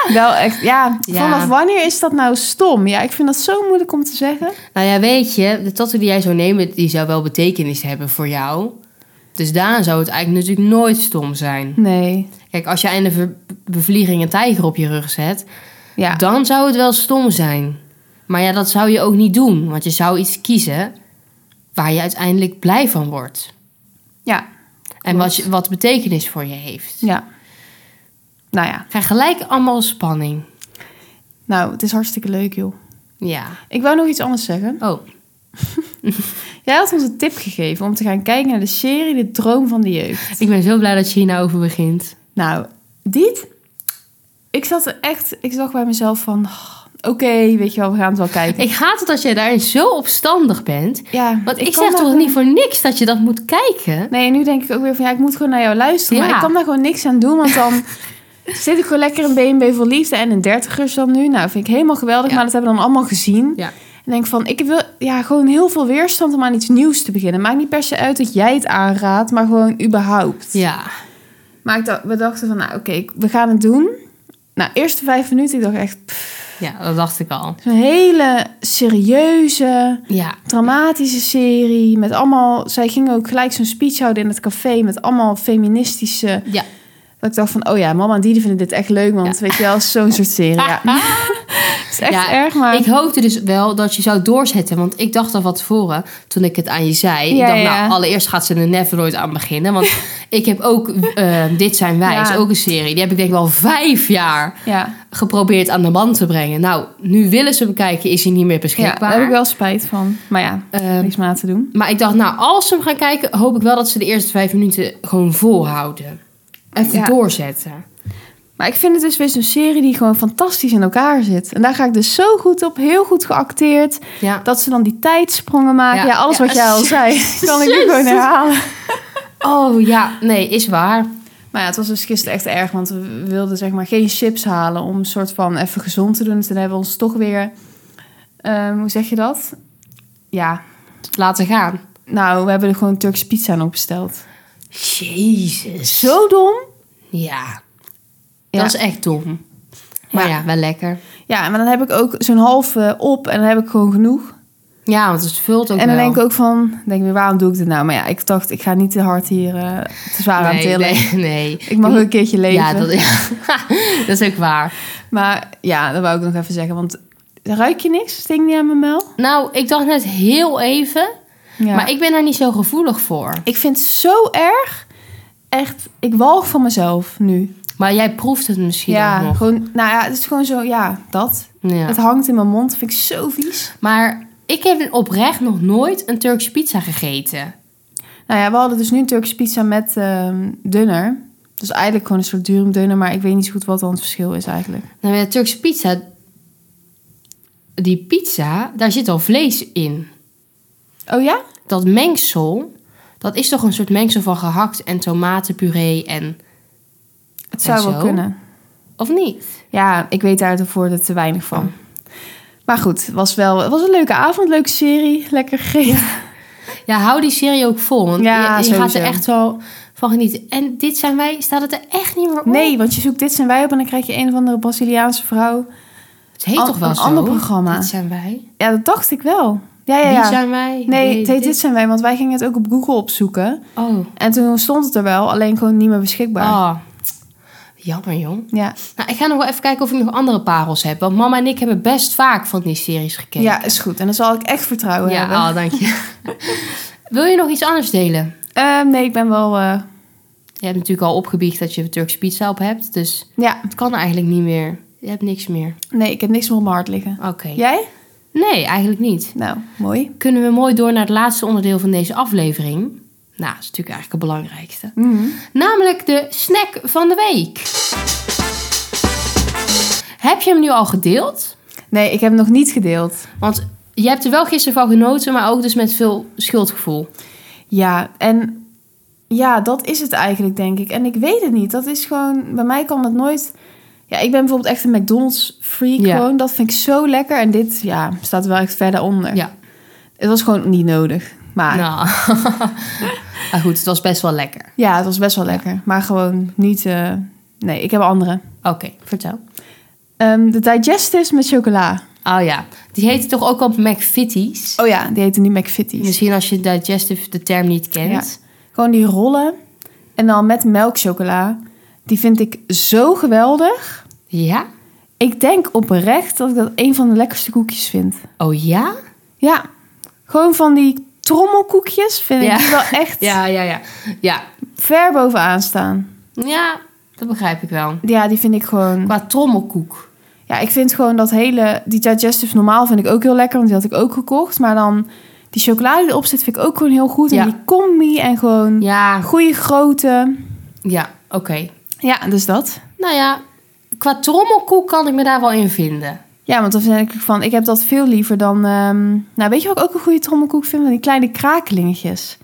[SPEAKER 3] Wel echt, ja,
[SPEAKER 2] Ja.
[SPEAKER 3] Vanaf wanneer is dat nou stom? Ja, ik vind dat zo moeilijk om te zeggen.
[SPEAKER 2] Nou ja, weet je, de tattoo die jij zou nemen, die zou wel betekenis hebben voor jou. Dus daarna zou het eigenlijk natuurlijk nooit stom zijn.
[SPEAKER 3] Nee.
[SPEAKER 2] Kijk, als jij in de ver- bevlieging een tijger op je rug zet,
[SPEAKER 3] Ja.
[SPEAKER 2] dan zou het wel stom zijn. Maar ja, dat zou je ook niet doen, want je zou iets kiezen waar je uiteindelijk blij van wordt.
[SPEAKER 3] Ja.
[SPEAKER 2] En wat, je- wat betekenis voor je heeft.
[SPEAKER 3] Ja. Nou ja.
[SPEAKER 2] Ik krijg gelijk allemaal spanning.
[SPEAKER 3] Nou, het is hartstikke leuk, joh.
[SPEAKER 2] Ja.
[SPEAKER 3] Ik wou nog iets anders zeggen.
[SPEAKER 2] Oh,
[SPEAKER 3] Jij had ons een tip gegeven om te gaan kijken naar de serie De Droom van de Jeugd.
[SPEAKER 2] ik ben zo blij dat je hier nou over begint.
[SPEAKER 3] Nou, dit... Ik zat er echt... Ik dacht bij mezelf van... "Oh, Oké, weet je wel, we gaan het wel kijken.
[SPEAKER 2] Ik haat het dat jij daarin zo opstandig bent.
[SPEAKER 3] ja,
[SPEAKER 2] Want ik,
[SPEAKER 3] kan
[SPEAKER 2] zeg
[SPEAKER 3] daar
[SPEAKER 2] toch
[SPEAKER 3] gewoon-
[SPEAKER 2] niet voor niks dat je dat moet kijken?
[SPEAKER 3] Nee, nu denk ik ook weer van... Ja, ik moet gewoon naar jou luisteren.
[SPEAKER 2] Ja.
[SPEAKER 3] Maar ik kan daar gewoon niks aan doen, want dan... Zit ik gewoon lekker in BNB voor Liefde en in dertigers dan nu. Nou, vind ik helemaal geweldig,
[SPEAKER 2] Ja.
[SPEAKER 3] maar dat hebben we dan allemaal gezien.
[SPEAKER 2] Ja.
[SPEAKER 3] En denk van, ik wil ja, gewoon heel veel weerstand om aan iets nieuws te beginnen. Maakt niet per se uit dat jij het aanraadt, maar gewoon überhaupt.
[SPEAKER 2] Ja.
[SPEAKER 3] Maar ik dacht, we dachten van, nou oké, ik- we gaan het doen. Nou, eerste vijf minuten, ik dacht echt, pff,
[SPEAKER 2] Ja, dat dacht ik al.
[SPEAKER 3] een hele serieuze,
[SPEAKER 2] Ja.
[SPEAKER 3] dramatische serie. Met allemaal, zij ging ook gelijk zo'n speech houden in het café met allemaal feministische...
[SPEAKER 2] Ja.
[SPEAKER 3] Dat ik dacht van, oh ja, mama en Didi vinden dit echt leuk, want weet je wel, zo'n soort serie. Ja. Het is echt
[SPEAKER 2] Ja,
[SPEAKER 3] erg, maar...
[SPEAKER 2] Ik hoopte dus wel dat je zou doorzetten. Want ik dacht al van tevoren, toen ik het aan je zei.
[SPEAKER 3] Ja,
[SPEAKER 2] ik dacht,
[SPEAKER 3] ja.
[SPEAKER 2] nou, allereerst gaat ze er never nooit aan beginnen. Want ik heb ook eh, Dit Zijn Wij,
[SPEAKER 3] Ja.
[SPEAKER 2] is ook een serie. Die heb ik denk ik wel vijf jaar
[SPEAKER 3] ja,
[SPEAKER 2] geprobeerd aan de man te brengen. Nou, nu willen ze bekijken, is hij niet meer
[SPEAKER 3] ja,
[SPEAKER 2] beschikbaar.
[SPEAKER 3] daar heb ik wel spijt van. Maar ja,
[SPEAKER 2] Ehm,
[SPEAKER 3] niks meer aan te doen.
[SPEAKER 2] maar ik dacht, nou, als ze hem gaan kijken, hoop ik wel dat ze de eerste vijf minuten gewoon volhouden. Even
[SPEAKER 3] Ja.
[SPEAKER 2] doorzetten.
[SPEAKER 3] Maar ik vind het dus weer zo'n serie die gewoon fantastisch in elkaar zit. En daar ga ik dus zo goed op, heel goed geacteerd.
[SPEAKER 2] Ja.
[SPEAKER 3] Dat ze dan die tijdsprongen maken.
[SPEAKER 2] Ja.
[SPEAKER 3] Ja, alles
[SPEAKER 2] Ja,
[SPEAKER 3] wat jij al zei, kan ik nu
[SPEAKER 2] Jezus.
[SPEAKER 3] gewoon herhalen.
[SPEAKER 2] Oh ja, nee, is waar.
[SPEAKER 3] Maar ja, het was dus gisteren echt erg, want we wilden zeg maar geen chips halen om een soort van even gezond te doen. Dus toen hebben we ons toch weer, ehm, hoe zeg je dat? Ja,
[SPEAKER 2] Laten gaan.
[SPEAKER 3] nou, we hebben er gewoon Turks pizza nog besteld.
[SPEAKER 2] Jezus.
[SPEAKER 3] Zo dom.
[SPEAKER 2] Ja.
[SPEAKER 3] Ja.
[SPEAKER 2] Dat is echt dom. Maar ja,
[SPEAKER 3] Ja.
[SPEAKER 2] wel lekker.
[SPEAKER 3] Ja, maar dan heb ik ook zo'n halve op en dan heb ik gewoon genoeg.
[SPEAKER 2] Ja, want het vult ook
[SPEAKER 3] en dan
[SPEAKER 2] wel.
[SPEAKER 3] denk ik ook van, denk ik weer, waarom doe ik dit nou? Maar ja, ik dacht, ik ga niet te hard hier eh, te zwaar aan
[SPEAKER 2] nee,
[SPEAKER 3] tillen.
[SPEAKER 2] nee, nee.
[SPEAKER 3] Ik mag ook een keertje leven.
[SPEAKER 2] Ja, dat, dat is ook waar.
[SPEAKER 3] Maar ja, dat wou ik nog even zeggen. Want ruik je niks? Sting niet aan mijn mel?
[SPEAKER 2] Nou, ik dacht net heel even,
[SPEAKER 3] Ja.
[SPEAKER 2] maar ik ben daar niet zo gevoelig voor.
[SPEAKER 3] Ik vind het zo erg. Echt, ik walg van mezelf nu.
[SPEAKER 2] Maar jij proeft het misschien
[SPEAKER 3] ja,
[SPEAKER 2] ook nog.
[SPEAKER 3] gewoon, nou ja, het is gewoon zo, ja, dat.
[SPEAKER 2] Ja.
[SPEAKER 3] Het hangt in mijn mond, vind ik zo vies.
[SPEAKER 2] Maar ik heb oprecht nog nooit een Turkse pizza gegeten.
[SPEAKER 3] Nou ja, we hadden dus nu een Turkse pizza met ehm, dunner. Dus eigenlijk gewoon een soort dure dunner, maar ik weet niet zo goed wat dan het verschil is eigenlijk.
[SPEAKER 2] Nou, met de Turkse pizza... Die pizza, daar zit al vlees in.
[SPEAKER 3] Oh ja?
[SPEAKER 2] Dat mengsel, dat is toch een soort mengsel van gehakt en tomatenpuree en...
[SPEAKER 3] Het zou
[SPEAKER 2] En
[SPEAKER 3] wel
[SPEAKER 2] zo?
[SPEAKER 3] kunnen.
[SPEAKER 2] Of niet?
[SPEAKER 3] Ja, ik weet daar tevoren te weinig van.
[SPEAKER 2] Oh.
[SPEAKER 3] Maar goed, het was wel het was een leuke avond, leuke serie, lekker gegeten.
[SPEAKER 2] Ja, hou die serie ook vol, want
[SPEAKER 3] Ja,
[SPEAKER 2] je, je gaat er
[SPEAKER 3] sowieso.
[SPEAKER 2] echt wel van genieten. En dit zijn wij, staat het er echt niet meer op?
[SPEAKER 3] Nee, want je zoekt dit zijn wij op en dan krijg je een of andere Braziliaanse vrouw.
[SPEAKER 2] Het heet
[SPEAKER 3] An-
[SPEAKER 2] toch wel
[SPEAKER 3] een
[SPEAKER 2] zo?
[SPEAKER 3] ander programma.
[SPEAKER 2] Dit zijn wij.
[SPEAKER 3] Ja, dat dacht ik wel. Ja, ja,
[SPEAKER 2] Die
[SPEAKER 3] ja.
[SPEAKER 2] zijn wij.
[SPEAKER 3] Nee,
[SPEAKER 2] Die-
[SPEAKER 3] het heet dit zijn wij, want wij gingen het ook op Google opzoeken.
[SPEAKER 2] Oh.
[SPEAKER 3] En toen stond het er wel, alleen gewoon niet meer beschikbaar.
[SPEAKER 2] Ah. Jammer, jong.
[SPEAKER 3] Ja.
[SPEAKER 2] Nou, ik ga nog wel even kijken of ik nog andere parels heb. Want mama en ik hebben best vaak van die series gekeken.
[SPEAKER 3] ja, is goed. En dan zal ik echt vertrouwen
[SPEAKER 2] ja
[SPEAKER 3] hebben.
[SPEAKER 2] ah, dank je. Wil je nog iets anders delen?
[SPEAKER 3] Ehm, nee, ik ben wel... eh,
[SPEAKER 2] Je hebt natuurlijk al opgebiecht dat je Turkse pizza op hebt. Dus
[SPEAKER 3] ja,
[SPEAKER 2] het kan eigenlijk niet meer. Je hebt niks meer.
[SPEAKER 3] nee, ik heb niks meer op mijn hart liggen.
[SPEAKER 2] Oké.
[SPEAKER 3] Jij?
[SPEAKER 2] Nee, eigenlijk niet.
[SPEAKER 3] Nou, mooi.
[SPEAKER 2] Kunnen we mooi door naar het laatste onderdeel van deze aflevering. Nou, dat is natuurlijk eigenlijk het belangrijkste.
[SPEAKER 3] Mhm.
[SPEAKER 2] Namelijk de snack van de week. Heb je hem nu al gedeeld?
[SPEAKER 3] Nee, ik heb hem nog niet gedeeld.
[SPEAKER 2] Want je hebt er wel gisteren van genoten, maar ook dus met veel schuldgevoel.
[SPEAKER 3] Ja, en ja, dat is het eigenlijk, denk ik. En ik weet het niet. Dat is gewoon, bij mij kan dat nooit. Ja, ik ben bijvoorbeeld echt een McDonald's freak.
[SPEAKER 2] Ja.
[SPEAKER 3] Gewoon, dat vind ik zo lekker. En dit, ja, staat wel echt verder onder.
[SPEAKER 2] Ja.
[SPEAKER 3] Het was gewoon niet nodig. Maar
[SPEAKER 2] Nou. maar goed, het was best wel lekker.
[SPEAKER 3] ja, het was best wel lekker. Maar gewoon niet. eh, nee, ik heb andere.
[SPEAKER 2] Oké, vertel.
[SPEAKER 3] Ehm, de digestives met chocola.
[SPEAKER 2] Oh ja, die heette toch ook al McFitties?
[SPEAKER 3] Oh ja, die heette nu McFitties.
[SPEAKER 2] Misschien als je digestive de term niet kent.
[SPEAKER 3] Gewoon die rollen. En dan met melkchocola. Die vind ik zo geweldig.
[SPEAKER 2] Ja?
[SPEAKER 3] Ik denk oprecht dat ik dat een van de lekkerste koekjes vind.
[SPEAKER 2] Oh ja?
[SPEAKER 3] Ja, gewoon van die trommelkoekjes vind
[SPEAKER 2] Ja.
[SPEAKER 3] ik die wel echt
[SPEAKER 2] Ja, ja, ja. Ja,
[SPEAKER 3] ver bovenaan staan.
[SPEAKER 2] ja dat begrijp ik wel.
[SPEAKER 3] Ja, die vind ik gewoon...
[SPEAKER 2] Qua trommelkoek.
[SPEAKER 3] Ja, ik vind gewoon dat hele... Die digestives normaal vind ik ook heel lekker, want die had ik ook gekocht. Maar dan die chocolade die erop zit vind ik ook gewoon heel goed.
[SPEAKER 2] Ja.
[SPEAKER 3] En die combi en gewoon
[SPEAKER 2] Ja,
[SPEAKER 3] goede grootte.
[SPEAKER 2] ja, oké.
[SPEAKER 3] Ja, dus dat.
[SPEAKER 2] Nou ja, qua trommelkoek kan ik me daar wel in vinden.
[SPEAKER 3] Ja, want dan denk ik van, ik heb dat veel liever dan... ehm, Nou, weet je wat ik ook een goede trommelkoek vind? Van die kleine krakelingetjes.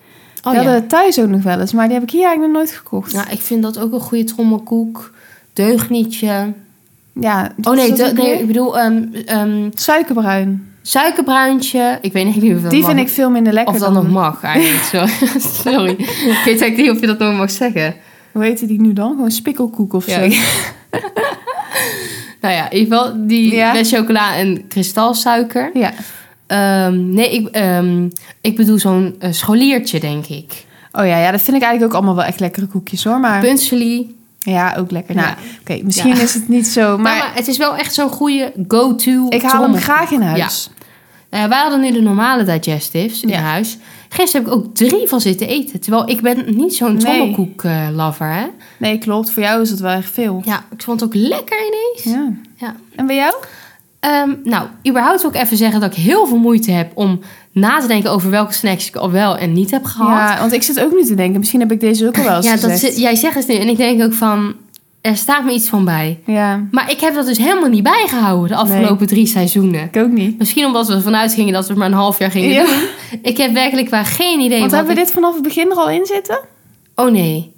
[SPEAKER 3] die
[SPEAKER 2] Oh, ja.
[SPEAKER 3] hadden het thuis ook nog wel eens, maar die heb ik hier eigenlijk nog nooit gekocht.
[SPEAKER 2] Ja, ik vind dat ook een goede trommelkoek. Deugnietje.
[SPEAKER 3] Ja,
[SPEAKER 2] Oh nee,
[SPEAKER 3] is dat
[SPEAKER 2] de-
[SPEAKER 3] ook
[SPEAKER 2] nee
[SPEAKER 3] weer?
[SPEAKER 2] ik bedoel ehm, ehm,
[SPEAKER 3] Suikerbruin.
[SPEAKER 2] suikerbruintje. Ik weet niet of dat
[SPEAKER 3] Die
[SPEAKER 2] mag.
[SPEAKER 3] vind ik veel minder lekker
[SPEAKER 2] Of dat nog mag eigenlijk. Sorry. Sorry. Ik weet eigenlijk niet of je dat nog mag zeggen.
[SPEAKER 3] Hoe heette die nu dan? Gewoon spikkelkoek of zo.
[SPEAKER 2] Ja. Nou ja, in ieder geval die
[SPEAKER 3] Ja.
[SPEAKER 2] met chocola en kristalsuiker.
[SPEAKER 3] Ja.
[SPEAKER 2] Ehm, nee, ik, ehm, ik bedoel zo'n eh, scholiertje, denk ik.
[SPEAKER 3] Oh ja, ja, dat vind ik eigenlijk ook allemaal wel echt lekkere koekjes hoor. Maar
[SPEAKER 2] Punselie.
[SPEAKER 3] ja, ook lekker. Nou,
[SPEAKER 2] Ja.
[SPEAKER 3] oké, misschien
[SPEAKER 2] Ja.
[SPEAKER 3] is het niet zo, maar,
[SPEAKER 2] Maar, maar het is wel echt zo'n goede go-to.
[SPEAKER 3] ik haal hem
[SPEAKER 2] trommelkoek.
[SPEAKER 3] graag in huis.
[SPEAKER 2] Nou ja, wij hadden nu de normale digestives in
[SPEAKER 3] Ja.
[SPEAKER 2] huis. Gisteren heb ik ook drie van zitten eten. Terwijl ik ben niet zo'n
[SPEAKER 3] Nee.
[SPEAKER 2] trommelkoek-lover, hè.
[SPEAKER 3] Nee, klopt. Voor jou is het wel echt veel.
[SPEAKER 2] Ja, ik vond het ook lekker ineens.
[SPEAKER 3] Ja.
[SPEAKER 2] Ja.
[SPEAKER 3] En bij jou?
[SPEAKER 2] Ehm, nou, überhaupt wil ik even zeggen dat ik heel veel moeite heb om na te denken over welke snacks ik al wel en niet heb gehad.
[SPEAKER 3] Ja, want ik zit ook nu te denken, misschien heb ik deze ook al wel eens
[SPEAKER 2] Ja, dat
[SPEAKER 3] gezegd.
[SPEAKER 2] zit- jij zegt het nu en ik denk ook van, er staat me iets van bij.
[SPEAKER 3] Ja,
[SPEAKER 2] Maar ik heb dat dus helemaal niet bijgehouden de afgelopen drie seizoenen.
[SPEAKER 3] ik ook niet.
[SPEAKER 2] Misschien omdat we ervan uitgingen dat we het maar een half jaar gingen
[SPEAKER 3] Ja.
[SPEAKER 2] doen. Ik heb werkelijk waar geen idee.
[SPEAKER 3] Want
[SPEAKER 2] wat
[SPEAKER 3] hebben
[SPEAKER 2] ik-
[SPEAKER 3] we dit vanaf het begin er al in zitten?
[SPEAKER 2] Oh nee.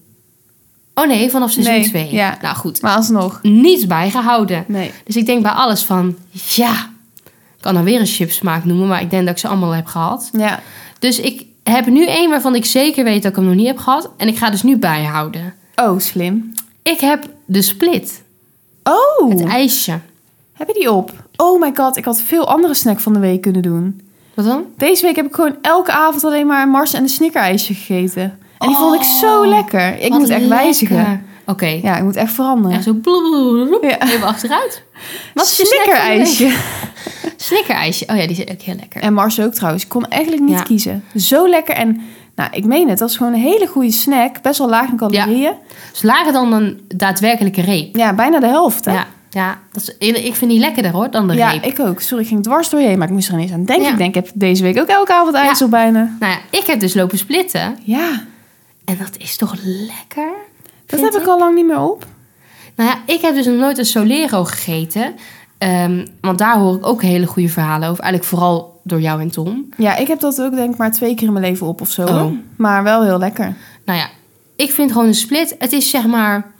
[SPEAKER 2] Oh nee, vanaf seizoen
[SPEAKER 3] Nee,
[SPEAKER 2] 2.
[SPEAKER 3] ja.
[SPEAKER 2] Nou goed,
[SPEAKER 3] Maar alsnog.
[SPEAKER 2] niets bijgehouden.
[SPEAKER 3] Nee.
[SPEAKER 2] Dus ik denk bij alles van, ja, ik kan dan weer een chipsmaak noemen, maar ik denk dat ik ze allemaal heb gehad.
[SPEAKER 3] Ja.
[SPEAKER 2] Dus ik heb nu één waarvan ik zeker weet dat ik hem nog niet heb gehad. En ik ga dus nu bijhouden.
[SPEAKER 3] Oh, slim.
[SPEAKER 2] Ik heb de split,
[SPEAKER 3] Oh!
[SPEAKER 2] het ijsje.
[SPEAKER 3] Heb je die op? Oh my god, ik had veel andere snack van de week kunnen doen.
[SPEAKER 2] Wat dan?
[SPEAKER 3] Deze week heb ik gewoon elke avond alleen maar een Mars en een snickerijsje gegeten. En die
[SPEAKER 2] Oh,
[SPEAKER 3] vond ik zo lekker. Ik
[SPEAKER 2] Wat
[SPEAKER 3] moet echt
[SPEAKER 2] lekker.
[SPEAKER 3] wijzigen.
[SPEAKER 2] Oké.
[SPEAKER 3] Ja, ik moet echt veranderen.
[SPEAKER 2] En zo bloep,
[SPEAKER 3] Ja.
[SPEAKER 2] even achteruit. Wat is je snack van de
[SPEAKER 3] snickerijsje?
[SPEAKER 2] week? Snickerijsje. Oh ja, die is ook heel lekker.
[SPEAKER 3] En Mars ook trouwens. Ik kon eigenlijk niet
[SPEAKER 2] Ja.
[SPEAKER 3] kiezen. Zo lekker. En nou, ik meen het. Dat is gewoon een hele goede snack. Best wel laag in calorieën. Ja,
[SPEAKER 2] Dus lager dan een daadwerkelijke reep.
[SPEAKER 3] bijna de helft. Hè?
[SPEAKER 2] Ja, ja dat is, eerlijk- ik vind die lekkerder hoor dan de
[SPEAKER 3] Ja,
[SPEAKER 2] reep.
[SPEAKER 3] ik ook. Sorry, ik ging dwars doorheen. Maar ik moest er ineens aan denken.
[SPEAKER 2] Ja.
[SPEAKER 3] Ik denk, ik heb deze week ook elke avond ijzel bijna.
[SPEAKER 2] Nou ja, ik heb dus lopen splitten.
[SPEAKER 3] Ja,
[SPEAKER 2] En dat is toch lekker?
[SPEAKER 3] dat
[SPEAKER 2] Vind
[SPEAKER 3] heb ik al lang niet meer op.
[SPEAKER 2] Nou ja, ik heb dus nog nooit een Solero gegeten. Ehm, want daar hoor ik ook hele goede verhalen over. Eigenlijk vooral door jou en Tom.
[SPEAKER 3] Ja, ik heb dat ook denk ik maar twee keer in mijn leven op of zo.
[SPEAKER 2] Oh.
[SPEAKER 3] hoor. Maar wel heel lekker.
[SPEAKER 2] Nou ja, ik vind gewoon een split. Het is zeg maar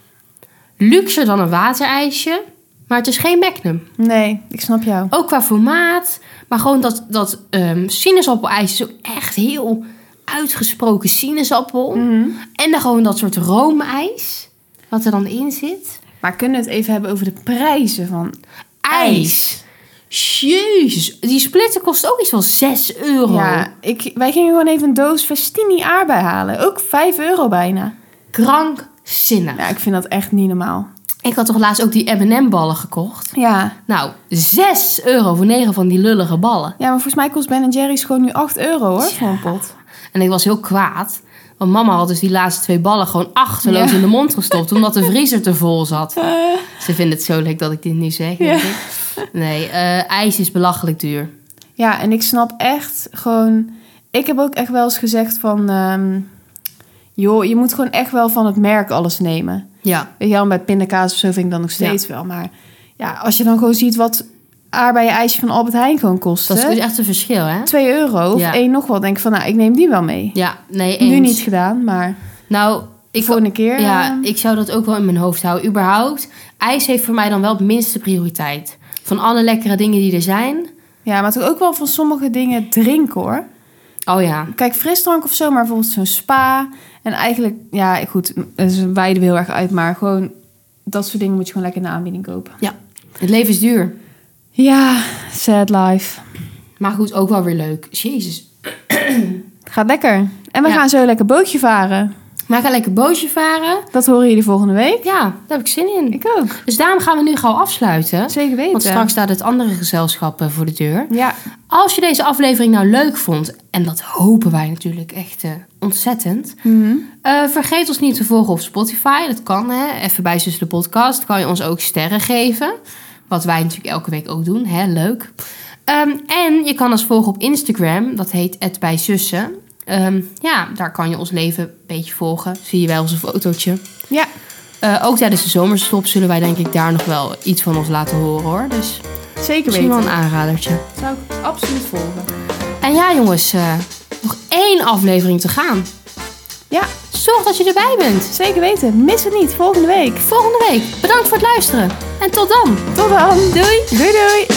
[SPEAKER 2] luxer dan een waterijsje. Maar het is geen Magnum.
[SPEAKER 3] Nee, ik snap jou.
[SPEAKER 2] Ook qua formaat. Maar gewoon dat, dat ehm sinaasappelijsje is ook echt heel uitgesproken sinaasappel.
[SPEAKER 3] Mm. Mhm.
[SPEAKER 2] En dan gewoon dat soort roomijs. Wat er dan in zit.
[SPEAKER 3] Maar kunnen we het even hebben over de prijzen van...
[SPEAKER 2] Ijs. Jezus. Die splitter kost ook iets van 6 euro.
[SPEAKER 3] Ja, ik, wij gingen gewoon even een doos Festini aardbei halen. Ook 5 euro bijna.
[SPEAKER 2] Krankzinnig.
[SPEAKER 3] Ja, ik vind dat echt niet normaal.
[SPEAKER 2] Ik had toch laatst ook die M&M-ballen gekocht?
[SPEAKER 3] Ja.
[SPEAKER 2] Nou, 6 euro voor 9 van die lullige ballen.
[SPEAKER 3] Ja, maar volgens mij kost Ben Jerry's gewoon nu 8 euro hoor, voor een pot.
[SPEAKER 2] En ik was heel kwaad. Want mama had dus die laatste twee ballen gewoon achterloos
[SPEAKER 3] Ja. Eh.
[SPEAKER 2] in de mond gestopt. Omdat de vriezer te vol zat. Ze vinden het zo leuk dat ik dit nu zeg. denk ik. Nee, eh, ijs is belachelijk duur.
[SPEAKER 3] Ja, en ik snap echt gewoon... Ik heb ook echt wel eens gezegd van... ehm, joh, je moet gewoon echt wel van het merk alles nemen.
[SPEAKER 2] Ja.
[SPEAKER 3] Weet je wel, bij pindakaas of zo vind ik dat nog steeds wel. Maar ja, als je dan gewoon ziet wat aardbeien ijsje van Albert Heijn gewoon kost.
[SPEAKER 2] Dat is
[SPEAKER 3] hè?
[SPEAKER 2] dus echt een verschil, hè?
[SPEAKER 3] 2 euro of
[SPEAKER 2] Ja.
[SPEAKER 3] één nog wat. Denk ik van, nou, ik neem die wel mee.
[SPEAKER 2] Ja, nee, eens.
[SPEAKER 3] Nu niet gedaan, maar
[SPEAKER 2] Nou, ik,
[SPEAKER 3] volgende keer.
[SPEAKER 2] ja,
[SPEAKER 3] eh,
[SPEAKER 2] ik zou dat ook wel in mijn hoofd houden. Überhaupt, ijs heeft voor mij dan wel het minste prioriteit. Van alle lekkere dingen die er zijn.
[SPEAKER 3] ja, maar toch ook wel van sommige dingen drinken hoor.
[SPEAKER 2] Oh ja.
[SPEAKER 3] Kijk, frisdrank of zo, maar bijvoorbeeld zo'n spa. En eigenlijk, ja, goed, ze wijden we heel erg uit, maar gewoon dat soort dingen moet je gewoon lekker in de aanbieding kopen.
[SPEAKER 2] Ja. Het leven is duur.
[SPEAKER 3] Ja, sad life.
[SPEAKER 2] Maar goed, ook wel weer leuk. Jezus.
[SPEAKER 3] Het gaat lekker. En we
[SPEAKER 2] Ja.
[SPEAKER 3] gaan zo lekker bootje varen.
[SPEAKER 2] Maar ik ga lekker bootje varen.
[SPEAKER 3] Dat horen jullie volgende week.
[SPEAKER 2] Ja, daar heb ik zin in.
[SPEAKER 3] Ik ook.
[SPEAKER 2] Dus daarom gaan we nu gauw afsluiten.
[SPEAKER 3] Zeker weten.
[SPEAKER 2] Want straks staat het andere gezelschap eh, voor de deur.
[SPEAKER 3] Ja,
[SPEAKER 2] Als je deze aflevering nou leuk vond, en dat hopen wij natuurlijk echt eh, ontzettend. eh, vergeet ons niet te volgen op Spotify. Dat kan, hè. Even bij Zus de Podcast. Kan je ons ook sterren geven. Wat wij natuurlijk elke week ook doen. Hè, leuk. Ehm, en je kan ons volgen op Instagram. Dat heet het bij Zussen. Ehm, ja, daar kan je ons leven een beetje volgen. Zie je wel eens een fotootje.
[SPEAKER 3] ja.
[SPEAKER 2] Eh, ook tijdens de zomerstop zullen wij denk ik daar nog wel iets van ons laten horen hoor. Dus
[SPEAKER 3] zeker
[SPEAKER 2] misschien wel
[SPEAKER 3] weten.
[SPEAKER 2] een aanradertje.
[SPEAKER 3] Zou ik absoluut volgen.
[SPEAKER 2] En ja jongens, eh, nog één aflevering te gaan.
[SPEAKER 3] Ja,
[SPEAKER 2] Zorg dat je erbij bent.
[SPEAKER 3] zeker weten. Mis het niet, volgende week.
[SPEAKER 2] Volgende week. Bedankt voor het luisteren. En tot dan.
[SPEAKER 3] Tot dan.
[SPEAKER 2] Doei.
[SPEAKER 3] Doei doei.